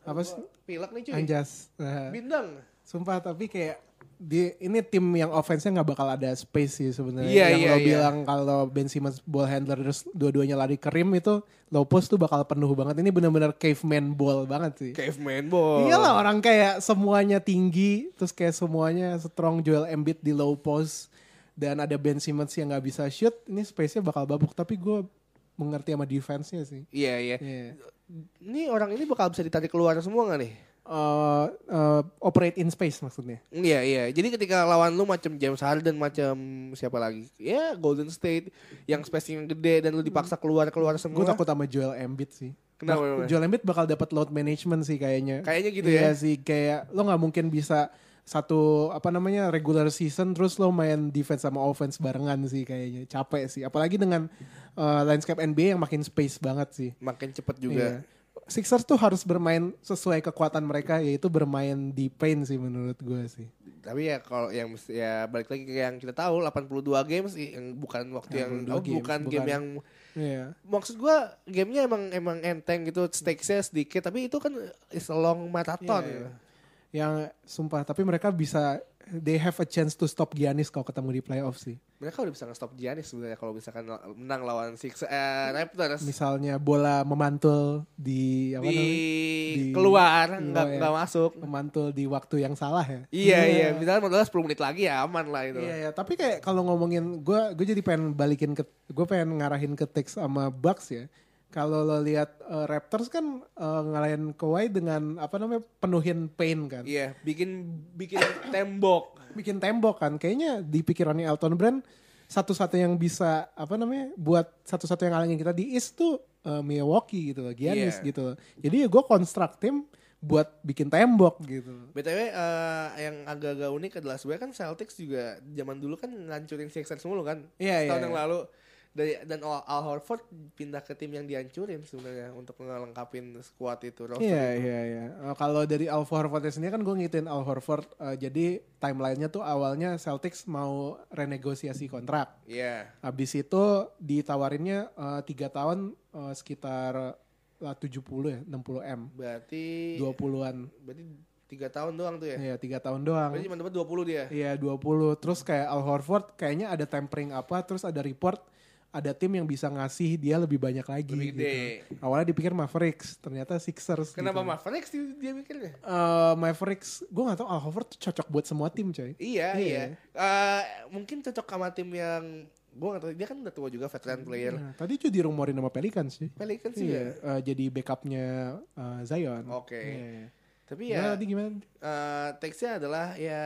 S2: Apa sih
S1: pilek nih cuy
S2: anjas. Nah,
S1: bintang
S2: sumpah tapi kayak di ini tim yang offense-nya nggak bakal ada space sih sebenarnya.
S1: Iya,
S2: yang
S1: iya,
S2: lo
S1: iya.
S2: bilang kalau Ben Simmons ball handler terus dua-duanya lari kerim itu low post tuh bakal penuh banget. Ini benar-benar caveman ball banget sih.
S1: Caveman ball.
S2: Iyalah orang kayak semuanya tinggi, terus kayak semuanya strong Joel Embiid di low post dan ada Ben Simmons yang nggak bisa shoot, ini space-nya bakal babuk. Tapi gue mengerti sama defense-nya sih.
S1: Iya, iya.
S2: Iya.
S1: Ini orang ini bakal bisa ditarik keluar semua nggak nih?
S2: Eh, eh, operate in space maksudnya.
S1: Iya iya. Jadi ketika lawan lu macam James Harden macam siapa lagi? Ya Golden State yang spacing gede dan lu dipaksa keluar keluar semua.
S2: Gue takut sama Joel Embiid sih.
S1: Kenapa
S2: Bak-
S1: emang?
S2: Joel Embiid bakal dapat load management sih kayaknya.
S1: Kayaknya gitu
S2: Iya
S1: ya.
S2: sih kayak lo nggak mungkin bisa satu apa namanya regular season terus lo main defense sama offense barengan sih kayaknya capek sih apalagi dengan uh, landscape NBA yang makin space banget sih
S1: Makin cepet juga.
S2: Iya. Sixers tuh harus bermain sesuai kekuatan mereka yaitu bermain di paint sih menurut gue sih
S1: Tapi ya kalau yang mesti- ya balik lagi ke yang kita tahu 82 games i- yang bukan waktu yang
S2: 82
S1: oh, bukan
S2: games,
S1: game
S2: bukan.
S1: yang
S2: Iya
S1: maksud gua gamenya emang emang enteng gitu stakesnya sedikit tapi itu kan is a long marathon.
S2: Iya, iya. yang sumpah tapi mereka bisa they have a chance to stop Giannis kalau ketemu di playoff sih
S1: Mereka udah bisa nge-stop Giannis sebenarnya kalau misalkan la- menang lawan Six eh, Raptors.
S2: misalnya bola memantul di apa
S1: di,
S2: namanya Di-
S1: keluar
S2: Keluar,
S1: nggak
S2: ya.
S1: nggak masuk
S2: memantul di waktu yang salah ya
S1: Iya iya, misalnya modalnya 10 menit lagi ya aman lah itu.
S2: Iya ya, tapi kayak kalau ngomongin gue, gue jadi pengen balikin ke, gue pengen ngarahin ke Tex sama Bucks ya. Kalau lo lihat eh, Raptors kan eh, ngalahin Kawhi dengan apa namanya penuhin paint kan,
S1: Iya, bikin bikin tembok.
S2: bikin tembok kan. Kayaknya di pikirannya Elton Brand satu-satu yang bisa apa namanya buat satu-satu yang ngalangin kita di East tuh eh, Milwaukee gitu loh,
S1: Iya.
S2: Giannis gitu loh. Jadi gue konstruk tim buat bikin tembok gitu.
S1: BTW eh, yang agak-agak unik adalah sebenarnya kan Celtics juga zaman dulu kan ngancurin Sixers mulu kan.
S2: Iya,
S1: Tahun
S2: iya,
S1: yang
S2: iya.
S1: lalu dari dan Al, Al Horford pindah ke tim yang dihancurin sebenarnya untuk ngelengkapin squad itu. roster
S2: Iya
S1: itu.
S2: iya iya. Eh, Kalau dari Al Horford sendiri kan gue ngikutin Al Horford. eh, jadi timelinenya tuh awalnya Celtics mau renegosiasi kontrak.
S1: Iya.
S2: Habis itu ditawarinnya eh, tiga tahun eh, sekitar eh, 70 ya 60 m
S1: Berarti
S2: 20-an.
S1: berarti 3 tahun doang tuh ya.
S2: Iya tiga tahun doang.
S1: Berarti cuma dapat 20 dia.
S2: Iya 20 Terus kayak Al Horford kayaknya ada tempering apa Terus ada report Ada tim yang bisa ngasih dia lebih banyak lagi
S1: Lebih gede.
S2: gitu. Awalnya dipikir Mavericks Ternyata Sixers
S1: Kenapa
S2: gitu.
S1: Mavericks dia- dia mikirnya?
S2: eh Mavericks, gue gak tau Al Horford tuh cocok buat semua tim coy.
S1: Iya,
S2: Iya.
S1: iya. Eh, mungkin cocok sama tim yang gue gak tahu dia kan udah tua juga veteran player.
S2: Nah, tadi juga dirumorin sama Pelicans sih.
S1: Pelicans sih
S2: Iya,
S1: ya.
S2: eh, jadi backupnya eh, Zion.
S1: Oke.
S2: Iya, iya.
S1: Tapi
S2: Gimana
S1: ya
S2: tadi gimana?
S1: eh teksnya adalah ya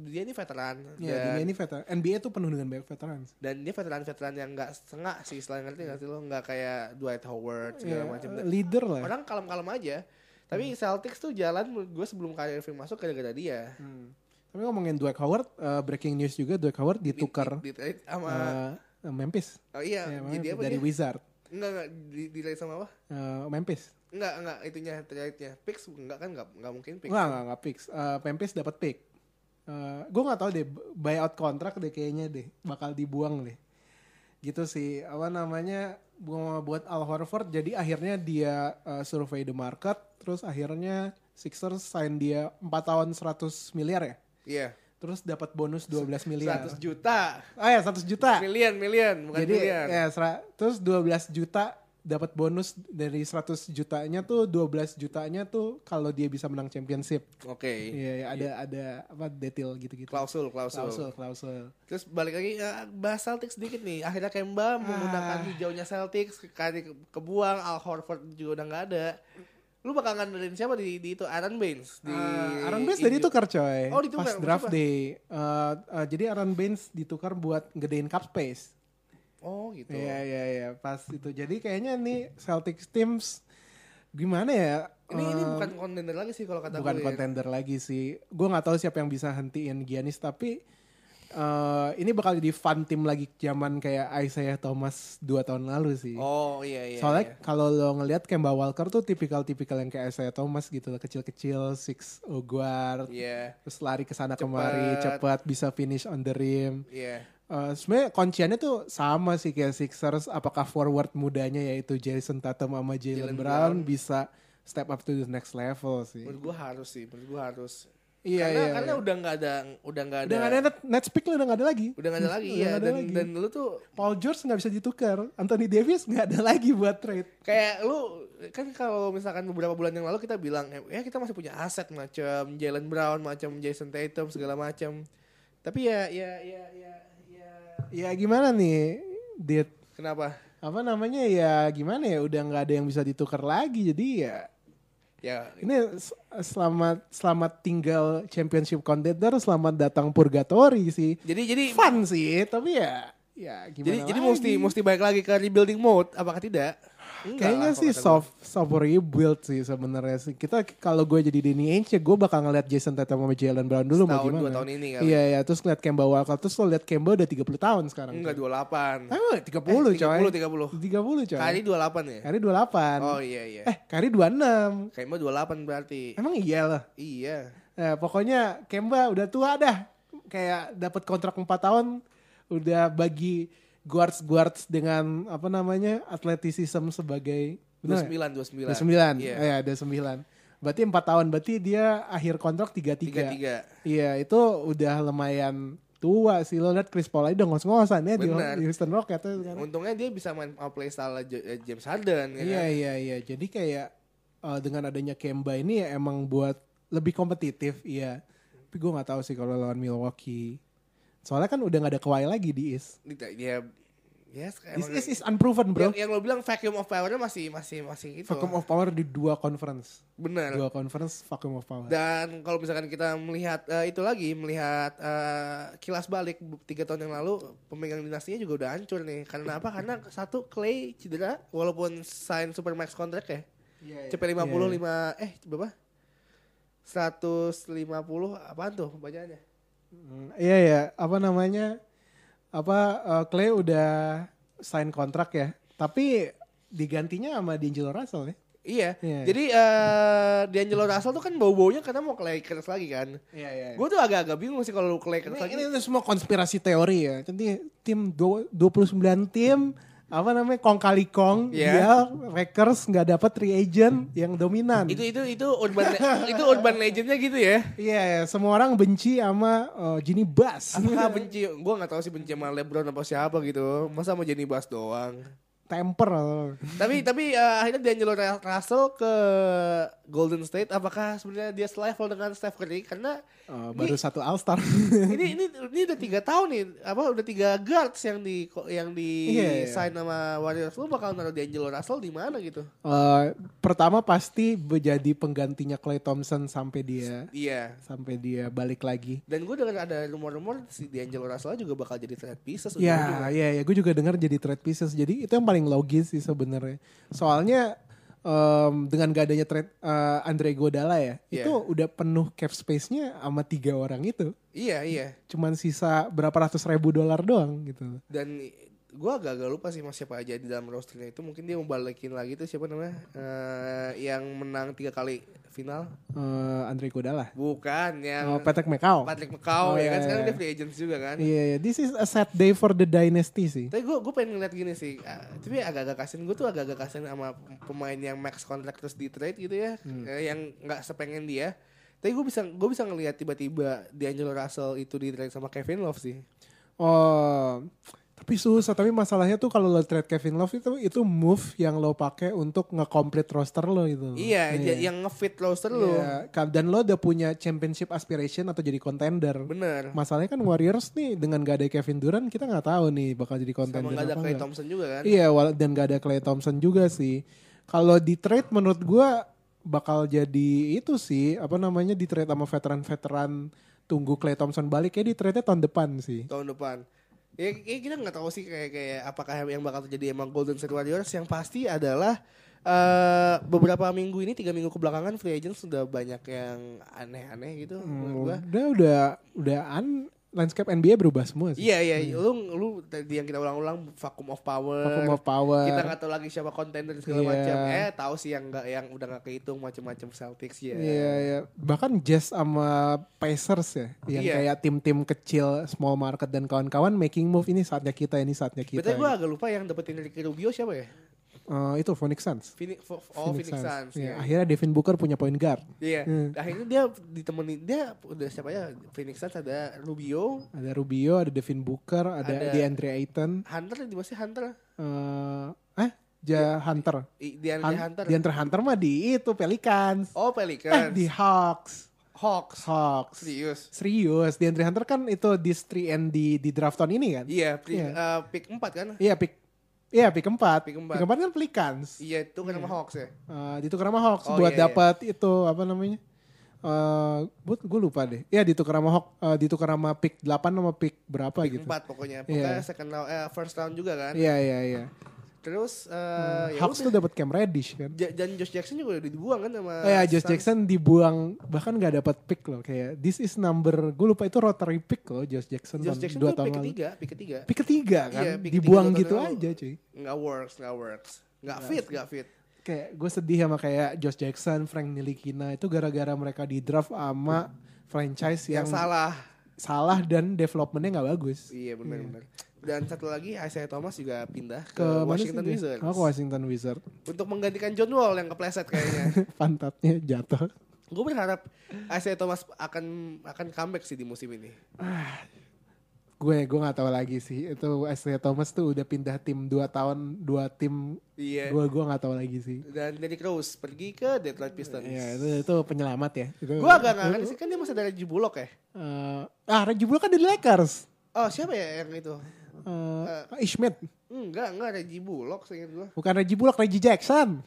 S1: dia ini veteran
S2: Ya,
S1: dan,
S2: dunia ini veteran. NBA tuh penuh dengan banyak veteran.
S1: dan dia veteran-veteran yang nggak sengak sih selain ngerti nggak sih lo nggak kayak Dwight Howard segala
S2: Iya,
S1: macam.
S2: eh, Hmm. leader lah.
S1: Orang kalem-kalem aja. Tapi Celtics tuh jalan menurut gue sebelum Kyrie Irving masuk gara-gara dia.
S2: Hmm. Tapi ngomongin Dwight Howard, eh, breaking news juga Dwight Howard
S1: Di-
S2: ditukar
S1: di, di- sama
S2: eh, eh, Memphis.
S1: oh iya,
S2: Iya,
S1: jadi
S2: Memphis.
S1: apa
S2: dari
S1: dia?
S2: Wizard.
S1: Enggak enggak di, di sama apa?
S2: Eh, Memphis.
S1: Enggak enggak itunya trade-nya. Picks enggak kan enggak enggak mungkin picks.
S2: Nggak, nggak, nggak fix. Eh, Memphis dapat pick. Eh gue nggak tahu deh, buyout kontrak deh kayaknya deh. Bakal dibuang deh. Gitu sih, apa namanya, gua buat Al Horford. Jadi akhirnya dia eh, survei the market. Terus akhirnya Sixers sign dia 4 tahun 100 miliar ya.
S1: Iya.
S2: Terus dapat bonus 12 miliar.
S1: 100 juta.
S2: Ah ya, 100 juta.
S1: Million, million, bukan
S2: Jadi
S1: miliar.
S2: ya, sera- terus 12 juta dapat bonus dari 100 jutanya tuh 12 jutanya tuh kalau dia bisa menang championship.
S1: Oke.
S2: Iya, iya, ada ada apa detail gitu-gitu.
S1: Klausul, klausul,
S2: klausul. klausul.
S1: Terus balik lagi eh, bahas Celtics sedikit nih. Akhirnya
S2: Ah.
S1: Kemba menggunakan hijaunya Celtics, kali ke- kebuang Al Horford juga udah nggak ada. Lu bakal ngandelin siapa di, di itu Aaron Baines di
S2: Ah, Aaron Baines dari tukar coy.
S1: Oh, ditukar,
S2: Pas draft
S1: maksud gua.
S2: day. Eh, eh, jadi Aaron Baines ditukar buat gedein cap space.
S1: Oh gitu.
S2: Iya iya iya pas itu. Jadi kayaknya nih Celtics teams gimana ya?
S1: Ini ini
S2: Eh,
S1: bukan kontender lagi sih kalau kata
S2: bukan
S1: gue.
S2: contender lagi sih. Gue nggak tahu siapa yang bisa hentiin Giannis tapi eh, ini bakal jadi fun tim lagi zaman kayak Isaiah Thomas dua tahun lalu sih.
S1: Oh iya iya. iya.
S2: Soalnya kalau lo ngelihat Kemba Walker tuh tipikal-tipikal yang kayak Isaiah Thomas gitu loh, kecil-kecil, six oh guard,
S1: Iya.
S2: terus lari ke sana kemari, cepat bisa finish on the rim.
S1: Iya.
S2: Eh sebenarnya kunciannya tuh sama sih kayak Sixers, apakah forward mudanya yaitu Jason Tatum sama Jalen
S1: Jalen
S2: Brown, bisa step up to the next level sih.
S1: Menurut gue harus sih, menurut gue harus.
S2: Iya,
S1: karena
S2: iya,
S1: karena
S2: iya.
S1: udah nggak ada udah nggak ada
S2: Udah nggak ada net, net speak lu udah nggak ada lagi.
S1: udah nggak ada lagi
S2: Udah
S1: ya
S2: nggak ada
S1: dan
S2: lagi.
S1: dan lu tuh
S2: Paul George nggak bisa ditukar, Anthony Davis nggak ada lagi buat trade.
S1: kayak lu kan kalau misalkan beberapa bulan yang lalu kita bilang ya kita masih punya aset macam Jalen Brown macam Jason Tatum segala macam tapi ya ya ya ya ya
S2: Ya gimana nih, Dit?
S1: kenapa
S2: Apa namanya ya gimana ya udah nggak ada yang bisa ditukar lagi jadi ya
S1: ya
S2: ini s- selamat selamat tinggal championship contender selamat datang purgatory sih
S1: jadi jadi
S2: fun sih tapi ya ya gimana
S1: jadi jadi
S2: lagi?
S1: mesti mesti balik lagi ke rebuilding mode apakah tidak Enggak
S2: Kayaknya
S1: lah,
S2: sih
S1: kalau kata gua.
S2: soft soft rebuild sih sebenarnya sih. Kita kalau gue jadi Danny Ainge ya gue bakal ngeliat Jason Tatum sama Jalen Brown dulu mau
S1: Setahun,
S2: gimana.
S1: dua tahun ini kali.
S2: Iya iya terus ngeliat Kemba Walker terus lo liat Kemba udah 30 tahun sekarang.
S1: enggak Eh, 28
S2: Ah, 30 coy.
S1: 30, 30.
S2: 30 coy.
S1: kali 28 ya
S2: Kari 28.
S1: oh iya iya
S2: Kan. Eh, Kari 26.
S1: Kayaknya 28 berarti
S2: Emang iya loh.
S1: iya
S2: Eh, pokoknya Kemba udah tua dah. Kayak dapat kontrak 4 tahun udah bagi guards guards dengan apa namanya athleticism sebagai bener nggak?
S1: 29 29
S2: Ada sembilan,
S1: iya
S2: Eh, ada sembilan. Berarti empat tahun, berarti dia akhir kontrak tiga tiga.
S1: 33
S2: Iya, itu udah lumayan tua sih lo liat Chris Paul aja udah ngos-ngosan ya di
S1: Benar. Oh,
S2: di Houston Rockets tuh sekarang.
S1: untungnya dia bisa main sama playstyle J- eh, James Harden ya
S2: Iya
S1: kan?
S2: iya iya. Jadi kayak eh, dengan adanya Kemba ini ya emang buat lebih kompetitif, iya. Tapi gue nggak tahu sih kalau lawan Milwaukee. Soalnya kan udah nggak ada Kawhi lagi di East.
S1: Dia- dia ya, yes
S2: This East is unproven bro.
S1: yang, yang lo bilang vacuum of power masih masih masih itu
S2: Vacuum of power di dua conference.
S1: iya. benar
S2: Dua conference vacuum of power.
S1: Dan kalau misalkan kita melihat eh, itu lagi melihat eh, kilas balik bu- tiga tahun yang lalu pemegang dinastinya juga udah hancur nih. Karena apa? Karena satu Clay cedera walaupun sign supermax kontrak ya. CP 50
S2: Iya, iya.
S1: lima eh berapa? 150 apaan tuh bacaannya?
S2: Hmm, Iya ya, apa namanya? Apa eh, Clay udah sign kontrak ya. Tapi digantinya sama D'Angelo Russell ya.
S1: Iya.
S2: Iya.
S1: Jadi eh D'Angelo Russell tuh kan bau-baunya karena mau Clay Lakers lagi kan.
S2: Iya iya.
S1: Gue tuh agak-agak bingung sih kalau Clay Lakers lagi.
S2: Ini, ini semua konspirasi teori ya. Jadi tim du- 29 tim apa namanya kong kali kong
S1: Iya.
S2: dia Lakers nggak dapat free agent yang dominan.
S1: Itu itu itu urban itu urban legendnya gitu ya.
S2: Iya, iya, semua orang benci sama eh, Gini Bass.
S1: Apakah benci? Gue gak tahu sih benci sama Lebron apa siapa gitu. Masa mau jadi Bass doang.
S2: Temper.
S1: tapi tapi eh, akhirnya D'Angelo Ra- Russell ke Golden State. Apakah sebenarnya dia selevel dengan Steph Curry? Karena
S2: Eh, baru satu All Star.
S1: ini ini ini udah tiga tahun nih. Apa udah tiga guards yang di yang di
S2: Iya, iya.
S1: sign sama Warriors. Lu bakal naruh D'Angelo Russell di mana gitu?
S2: Eh, pertama pasti menjadi penggantinya Clay Thompson sampai dia
S1: Iya.
S2: sampai dia balik lagi.
S1: Dan gue dengar ada rumor-rumor si D'Angelo Russell juga bakal jadi trade pieces. ujung-ujungnya.
S2: Ya, ya, ya. Gue juga dengar jadi trade pieces. Jadi itu yang paling logis sih sebenarnya. Soalnya em, dengan gak adanya trade eh, Andre Godala ya,
S1: Iya.
S2: itu udah penuh cap space-nya sama tiga orang itu.
S1: Iya iya.
S2: Cuman sisa berapa ratus ribu dolar doang gitu.
S1: dan gue agak-agak lupa sih mas siapa aja di dalam rosternya itu mungkin dia mau balikin lagi tuh siapa namanya Eh, yang menang tiga kali final
S2: Eh, Andre Godala.
S1: bukan
S2: Oh,
S1: yang
S2: Patrick McCall.
S1: Eh, Patrick McCaw
S2: Oh,
S1: ya
S2: iya,
S1: kan sekarang
S2: iya.
S1: dia free agent juga kan
S2: Iya, iya. this is a sad day for the dynasty sih.
S1: tapi gue gue pengen ngeliat gini sih ah, tapi agak-agak kasian gue tuh agak-agak kasian sama pemain yang max kontrak terus di trade gitu ya
S2: Hmm.
S1: eh, yang nggak sepengen dia tapi gue bisa gue bisa ngelihat tiba-tiba D'Angelo Russell itu di trade sama Kevin Love sih
S2: Oh, tapi susah. Tapi masalahnya tuh kalau lo trade Kevin Love itu itu move yang lo pakai untuk nge-complete roster lo itu.
S1: iya ja- yang ngefit roster
S2: Iya,
S1: lo
S2: ka- Dan lo udah punya championship aspiration atau jadi contender.
S1: bener
S2: Masalahnya kan Warriors nih dengan gak ada Kevin Durant kita nggak tahu nih bakal jadi
S1: sama
S2: contender
S1: nggak ada
S2: apa
S1: Clay
S2: nggak.
S1: Thompson juga kan
S2: Iya, wala- dan gak ada Clay Thompson juga sih. Kalau di trade menurut gua bakal jadi itu sih apa namanya di trade sama veteran-veteran tunggu Clay Thompson balik ya di trade-nya tahun depan sih.
S1: tahun depan. Ya, ya kita nggak tahu sih kayak kayak apakah yang bakal terjadi emang Golden State Warriors yang pasti adalah eh beberapa minggu ini tiga minggu kebelakangan free agent sudah banyak yang aneh-aneh gitu
S2: Hmm,
S1: menurut gua.
S2: Udah udah udah an landscape NBA berubah semua sih.
S1: Iya iya lu lu tadi yang kita ulang-ulang vacuum of power.
S2: Vacuum of power.
S1: Kita nggak tahu lagi siapa kontender segala
S2: Iya.
S1: macam. Eh tahu sih yang nggak yang udah nggak kehitung macam-macam Celtics ya.
S2: Iya, iya. Bahkan Jazz sama Pacers ya, yang
S1: Iya.
S2: kayak tim-tim kecil, small market dan kawan-kawan making move ini saatnya kita, ini saatnya kita.
S1: Betul gue agak lupa yang dapetin Ricky Rubio siapa ya?
S2: eh, itu Phoenix Suns.
S1: Phoenix, oh, Phoenix, Suns.
S2: Iya,
S1: ya.
S2: Akhirnya Devin Booker punya point guard.
S1: Iya.
S2: Hmm.
S1: Akhirnya dia ditemani dia udah siapa ya? Phoenix Suns ada Rubio,
S2: Ada Rubio, ada Devin Booker, ada,
S1: Ada-
S2: DeAndre Ayton.
S1: Hunter di masih Hunter.
S2: eh eh, Ja Hunter.
S1: I, dia
S2: Han-
S1: Iya. Hunter.
S2: DeAndre Hunter mah di itu Pelicans.
S1: Oh
S2: Eh,
S1: Pelicans.
S2: di Hawks.
S1: Hawks.
S2: Hawks.
S1: Serius.
S2: Serius, DeAndre Hunter kan itu di 3 and di di draft tahun ini kan?
S1: Iya, pri-
S2: Iya.
S1: eh, pick 4 kan?
S2: Iya, pick Iya, pick 4.
S1: Pick
S2: Pick
S1: empat.
S2: 4, kan Pelicans.
S1: Iya, itu kan sama Hawks ya.
S2: Eh, ditukar sama Hawks
S1: Oh,
S2: buat
S1: iya, iya.
S2: dapat itu apa namanya? Eh, buat gue lupa deh. Ya ditukar sama Hawks, eh, ditukar sama pick 8 sama pick berapa gitu.
S1: 4 pokoknya. Pokoknya
S2: Iya.
S1: second round eh, first round juga kan.
S2: Iya, iya, iya.
S1: Terus eh ya
S2: Hawks
S1: udah.
S2: tuh dapat Cam Reddish kan.
S1: Ja- dan Josh Jackson juga udah dibuang kan sama
S2: Eh, ya, Josh
S1: Suns.
S2: Jackson dibuang bahkan nggak dapat pick loh kayak this is number gue lupa itu rotary pick loh Josh Jackson
S1: Josh
S2: tahun-
S1: Jackson
S2: dua
S1: tuh
S2: tahun
S1: pick
S2: lalu.
S1: ketiga, pick ketiga.
S2: Pick ketiga kan
S1: Iya, pick ketiga
S2: dibuang
S1: dua
S2: gitu
S1: tahun lalu.
S2: aja cuy.
S1: Nggak works, nggak works. Nggak fit, nggak fit.
S2: kayak gue sedih sama kayak Josh Jackson, Frank Nilikina itu gara-gara mereka di draft sama franchise yang,
S1: Yang salah.
S2: salah dan developmentnya nggak bagus
S1: Iya benar-benar. Dan satu lagi Isaiah Thomas juga pindah ke,
S2: ke mana sih
S1: Washington
S2: dia?
S1: Wizards
S2: Oh, ke Washington Wizards
S1: untuk menggantikan John Wall yang kepleset kayaknya.
S2: pantatnya jatuh.
S1: Gue berharap Isaiah Thomas akan akan comeback sih di musim ini.
S2: Gue gue nggak tahu lagi sih itu Isaiah Thomas tuh udah pindah tim 2 tahun dua tim
S1: Iya.
S2: gue gue nggak tahu lagi sih.
S1: Dan Derrick Rose pergi ke Detroit Pistons.
S2: Ya itu, itu penyelamat ya. Itu,
S1: Gue agak nggak sih kan dia masih ada Reggie Bullock ya.
S2: Eh, ah Reggie Bullock kan dari Lakers.
S1: Oh siapa ya yang itu?
S2: Eh, Ishmet
S1: Enggak enggak Reggie Bullock seingat gue.
S2: bukan Reggie Bullock Reggie Jackson.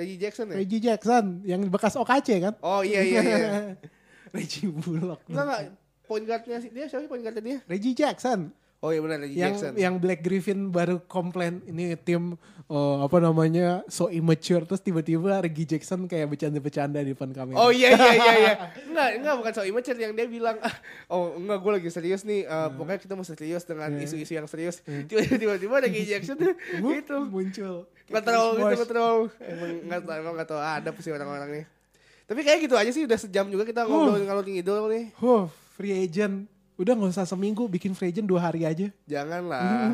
S1: Reggie Jackson ya.
S2: Reggie Jackson yang bekas OKC kan?
S1: Oh iya iya iya.
S2: Reggie Bullock.
S1: Enggak enggak. Point guardnya sih dia siapa sih point guardnya dia?
S2: Reggie Jackson
S1: Oh iya benar Reggie
S2: yang
S1: Jackson.
S2: yang Black Griffin baru komplain ini tim eh, apa namanya so immature terus tiba-tiba Reggie Jackson kayak bercanda-bercanda di depan kamera.
S1: Oh iya iya iya iya. Enggak, enggak bukan soal immature yang dia bilang "Ah, oh enggak gue lagi serius nih. eh, pokoknya kita mesti serius dengan isu-isu yang serius. Tiba-tiba tiba ada Reggie Jackson tuh
S2: Wup,
S1: gitu.
S2: muncul.
S1: Enggak tahu gitu
S2: Chris Bosh.
S1: enggak tahu. Emang enggak tahu emang enggak tahu ah, ada sih orang-orang nih. Tapi kayak gitu aja sih udah sejam juga kita ngobrol kalau tinggi dulu nih.
S2: Huh, free agent. Udah nggak usah seminggu bikin free agent dua hari aja.
S1: Janganlah.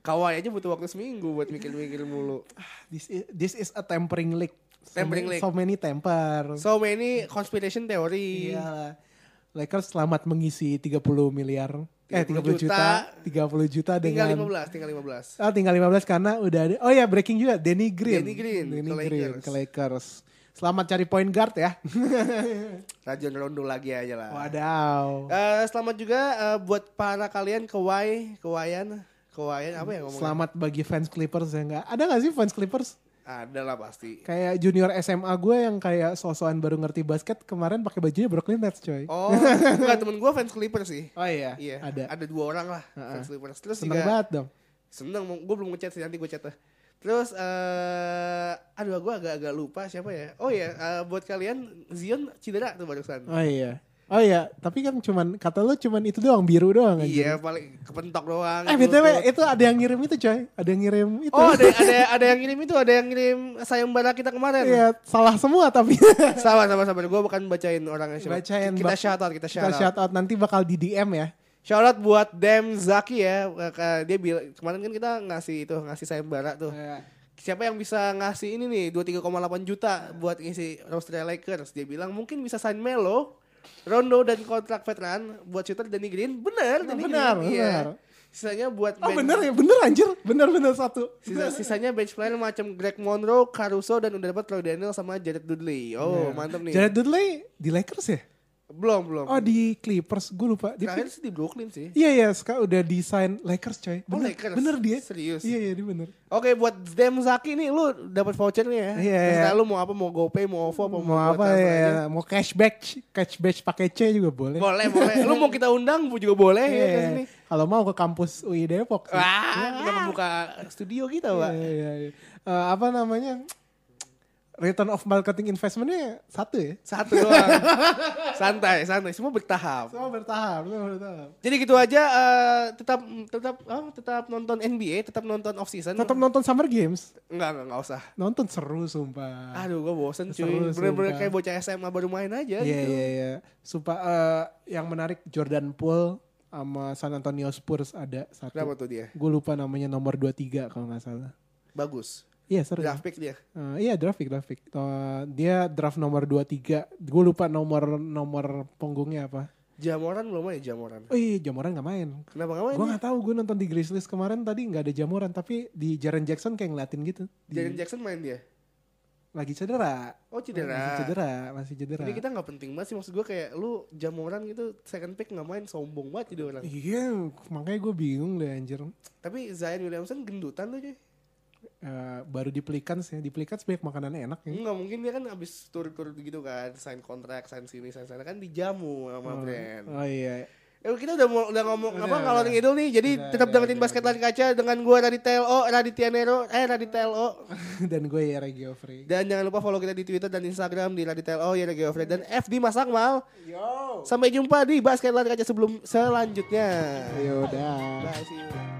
S1: Kawaii aja butuh waktu seminggu buat mikir-mikir mulu.
S2: Ah, This is, this is a tampering league. So
S1: Tampering
S2: many-
S1: league.
S2: So many temper.
S1: So many conspiration theory.
S2: Iya. Lakers selamat mengisi 30 miliar. eh
S1: 30
S2: 30
S1: juta.
S2: juta, 30 juta
S1: Tinggal
S2: dengan
S1: 15, tinggal 15.
S2: Ah, tinggal 15 karena udah ada. Oh ya, breaking juga Danny Green.
S1: Danny Green
S2: Danny
S1: ke
S2: Green
S1: Lakers.
S2: ke Lakers. Selamat cari point guard ya.
S1: Rajon Rondo lagi aja lah.
S2: Wadaw.
S1: Eh, selamat juga eh, buat para kalian kewai, kewayan, kewayan apa ya ngomongnya?
S2: Selamat bagi fans Clippers ya enggak. Ada nggak sih fans Clippers?
S1: Ada lah pasti.
S2: Kayak junior SMA gue yang kayak sosokan baru ngerti basket kemarin pakai bajunya Brooklyn Nets coy.
S1: Oh, enggak temen gue fans Clippers sih.
S2: Oh iya,
S1: Iya,
S2: ada.
S1: ada dua orang lah fans Clippers. Terus
S2: Seneng
S1: juga
S2: banget dong.
S1: seneng, gue belum ngechat sih nanti gue chat. Terus, eh aduh gue agak-agak lupa siapa ya. Oh iya, eh, buat kalian Zion cedera tuh barusan.
S2: Oh iya. Oh iya, tapi kan cuman kata lu cuman itu doang biru doang anjir.
S1: Iya, paling kepentok doang.
S2: Eh BTW itu ada yang ngirim itu coy, ada yang ngirim itu.
S1: Oh, ada ada ada yang ngirim itu, ada yang ngirim sayembara kita kemarin.
S2: Iya, salah semua tapi
S1: Sabar, sabar, sabar. Gue bukan bacain orangnya siapa.
S2: Bacain,
S1: Kita
S2: Bang.
S1: shout out, kita shout
S2: kita
S1: out.
S2: shout out nanti bakal di DM ya.
S1: Shout out buat Dem Zaki ya. Eh, eh, Dia bilang kemarin kan kita ngasih itu ngasih sayembara tuh. Siapa yang bisa ngasih ini nih 23,8 juta buat ngisi roster Lakers? Dia bilang mungkin bisa sign Melo, Rondo dan kontrak veteran buat shooter Danny Green. Bener, Danny
S2: benar,
S1: Green. Iya.
S2: benar.
S1: Sisanya buat
S2: Oh
S1: bench-
S2: bener ya, bener anjir, bener bener satu.
S1: Sisa- sisanya bench player macam Greg Monroe, Caruso dan udah dapat Troy Daniel sama Jared Dudley. Oh, mantep nih.
S2: Jared Dudley di Lakers ya?
S1: Belum, belum.
S2: Oh di Clippers, gue lupa. Di
S1: Terakhir sih di Brooklyn sih.
S2: Iya iya, sekarang udah desain Lakers coy. Bener,
S1: Oh, Lakers.
S2: bener dia.
S1: Serius.
S2: Iya iya dia bener.
S1: Oke buat Dem Zaki nih lu dapat voucher nih ya.
S2: Iya,
S1: Terserah
S2: iya.
S1: lu mau apa mau GoPay, mau OVO apa
S2: Mau
S1: buat
S2: apa
S1: transfer
S2: ya?
S1: aja.
S2: Mau cashback, cashback pakai C juga boleh.
S1: Boleh, boleh. lu mau kita undang bu juga boleh
S2: Iya,
S1: ya ke sini. Ah,
S2: Kalau mau ke kampus UI Depok. sih.
S1: Wah, kita membuka studio kita, Pak.
S2: Iya, iya, iya. Eh, apa namanya? Return of marketing investmentnya satu ya.
S1: Satu doang. santai, santai. Semua bertahap.
S2: Semua bertahap, semua bertahap.
S1: Jadi gitu aja eh, tetap tetap oh, tetap nonton NBA, tetap nonton off season.
S2: Tetap nonton Summer Games.
S1: enggak enggak enggak usah.
S2: Nonton seru sumpah.
S1: Aduh, gua bosen cuy.
S2: Nah. Seru,
S1: Bener-bener
S2: sumpah.
S1: kayak bocah SMA baru main aja
S2: Iya,
S1: gitu.
S2: iya, iya. Sumpah eh, yang menarik Jordan Poole sama San Antonio Spurs ada satu.
S1: Kenapa tuh dia?
S2: Gue lupa namanya nomor 23 kalau nggak salah.
S1: Bagus.
S2: Iya seru.
S1: Draft pick dia.
S2: Eh, iya draft pick, draft pick. Eh, dia draft nomor 23. Gue lupa nomor nomor punggungnya apa.
S1: Jamoran belum main Jamoran.
S2: Oh iya Jamoran nggak main.
S1: Kenapa nggak main?
S2: Gue nggak tahu gue nonton di Grizzlies kemarin tadi nggak ada Jamoran tapi di Jaren Jackson kayak ngeliatin gitu. Di-
S1: Jaren Jackson main dia.
S2: lagi cedera.
S1: Oh
S2: Masih
S1: cedera.
S2: cedera, masih cedera.
S1: Jadi gitu. kita nggak penting banget sih maksud gue kayak lu Jamoran gitu second pick nggak main sombong banget jadi orang.
S2: Iya, makanya gue bingung deh anjir.
S1: Tapi Zion Williamson gendutan tuh cuy.
S2: Eh, baru di Pelicans ya, di Pelicans banyak makanan enak ya.
S1: Nggak mungkin dia kan abis tur-tur gitu kan sign kontrak sign sini sign sana kan dijamu sama brand.
S2: Oh iya.
S1: Eh, kita udah mau, udah ngomong
S2: Udah,
S1: apa ngalor
S2: udah.
S1: ngidul nih. Jadi
S2: Udah,
S1: tetap
S2: udah,
S1: dengerin
S2: udah,
S1: basket lari kaca dengan gua Raditelo, Raditianero, eh Raditelo.
S2: Dan gue ya Regi Ofri.
S1: Dan jangan lupa follow kita di Twitter dan Instagram di Raditelo, ya Geofred dan FD Mas Akmal.
S2: Yo.
S1: Sampai jumpa di basket lari kaca sebelum selanjutnya.
S2: Ayo dah.
S1: Bye, see you.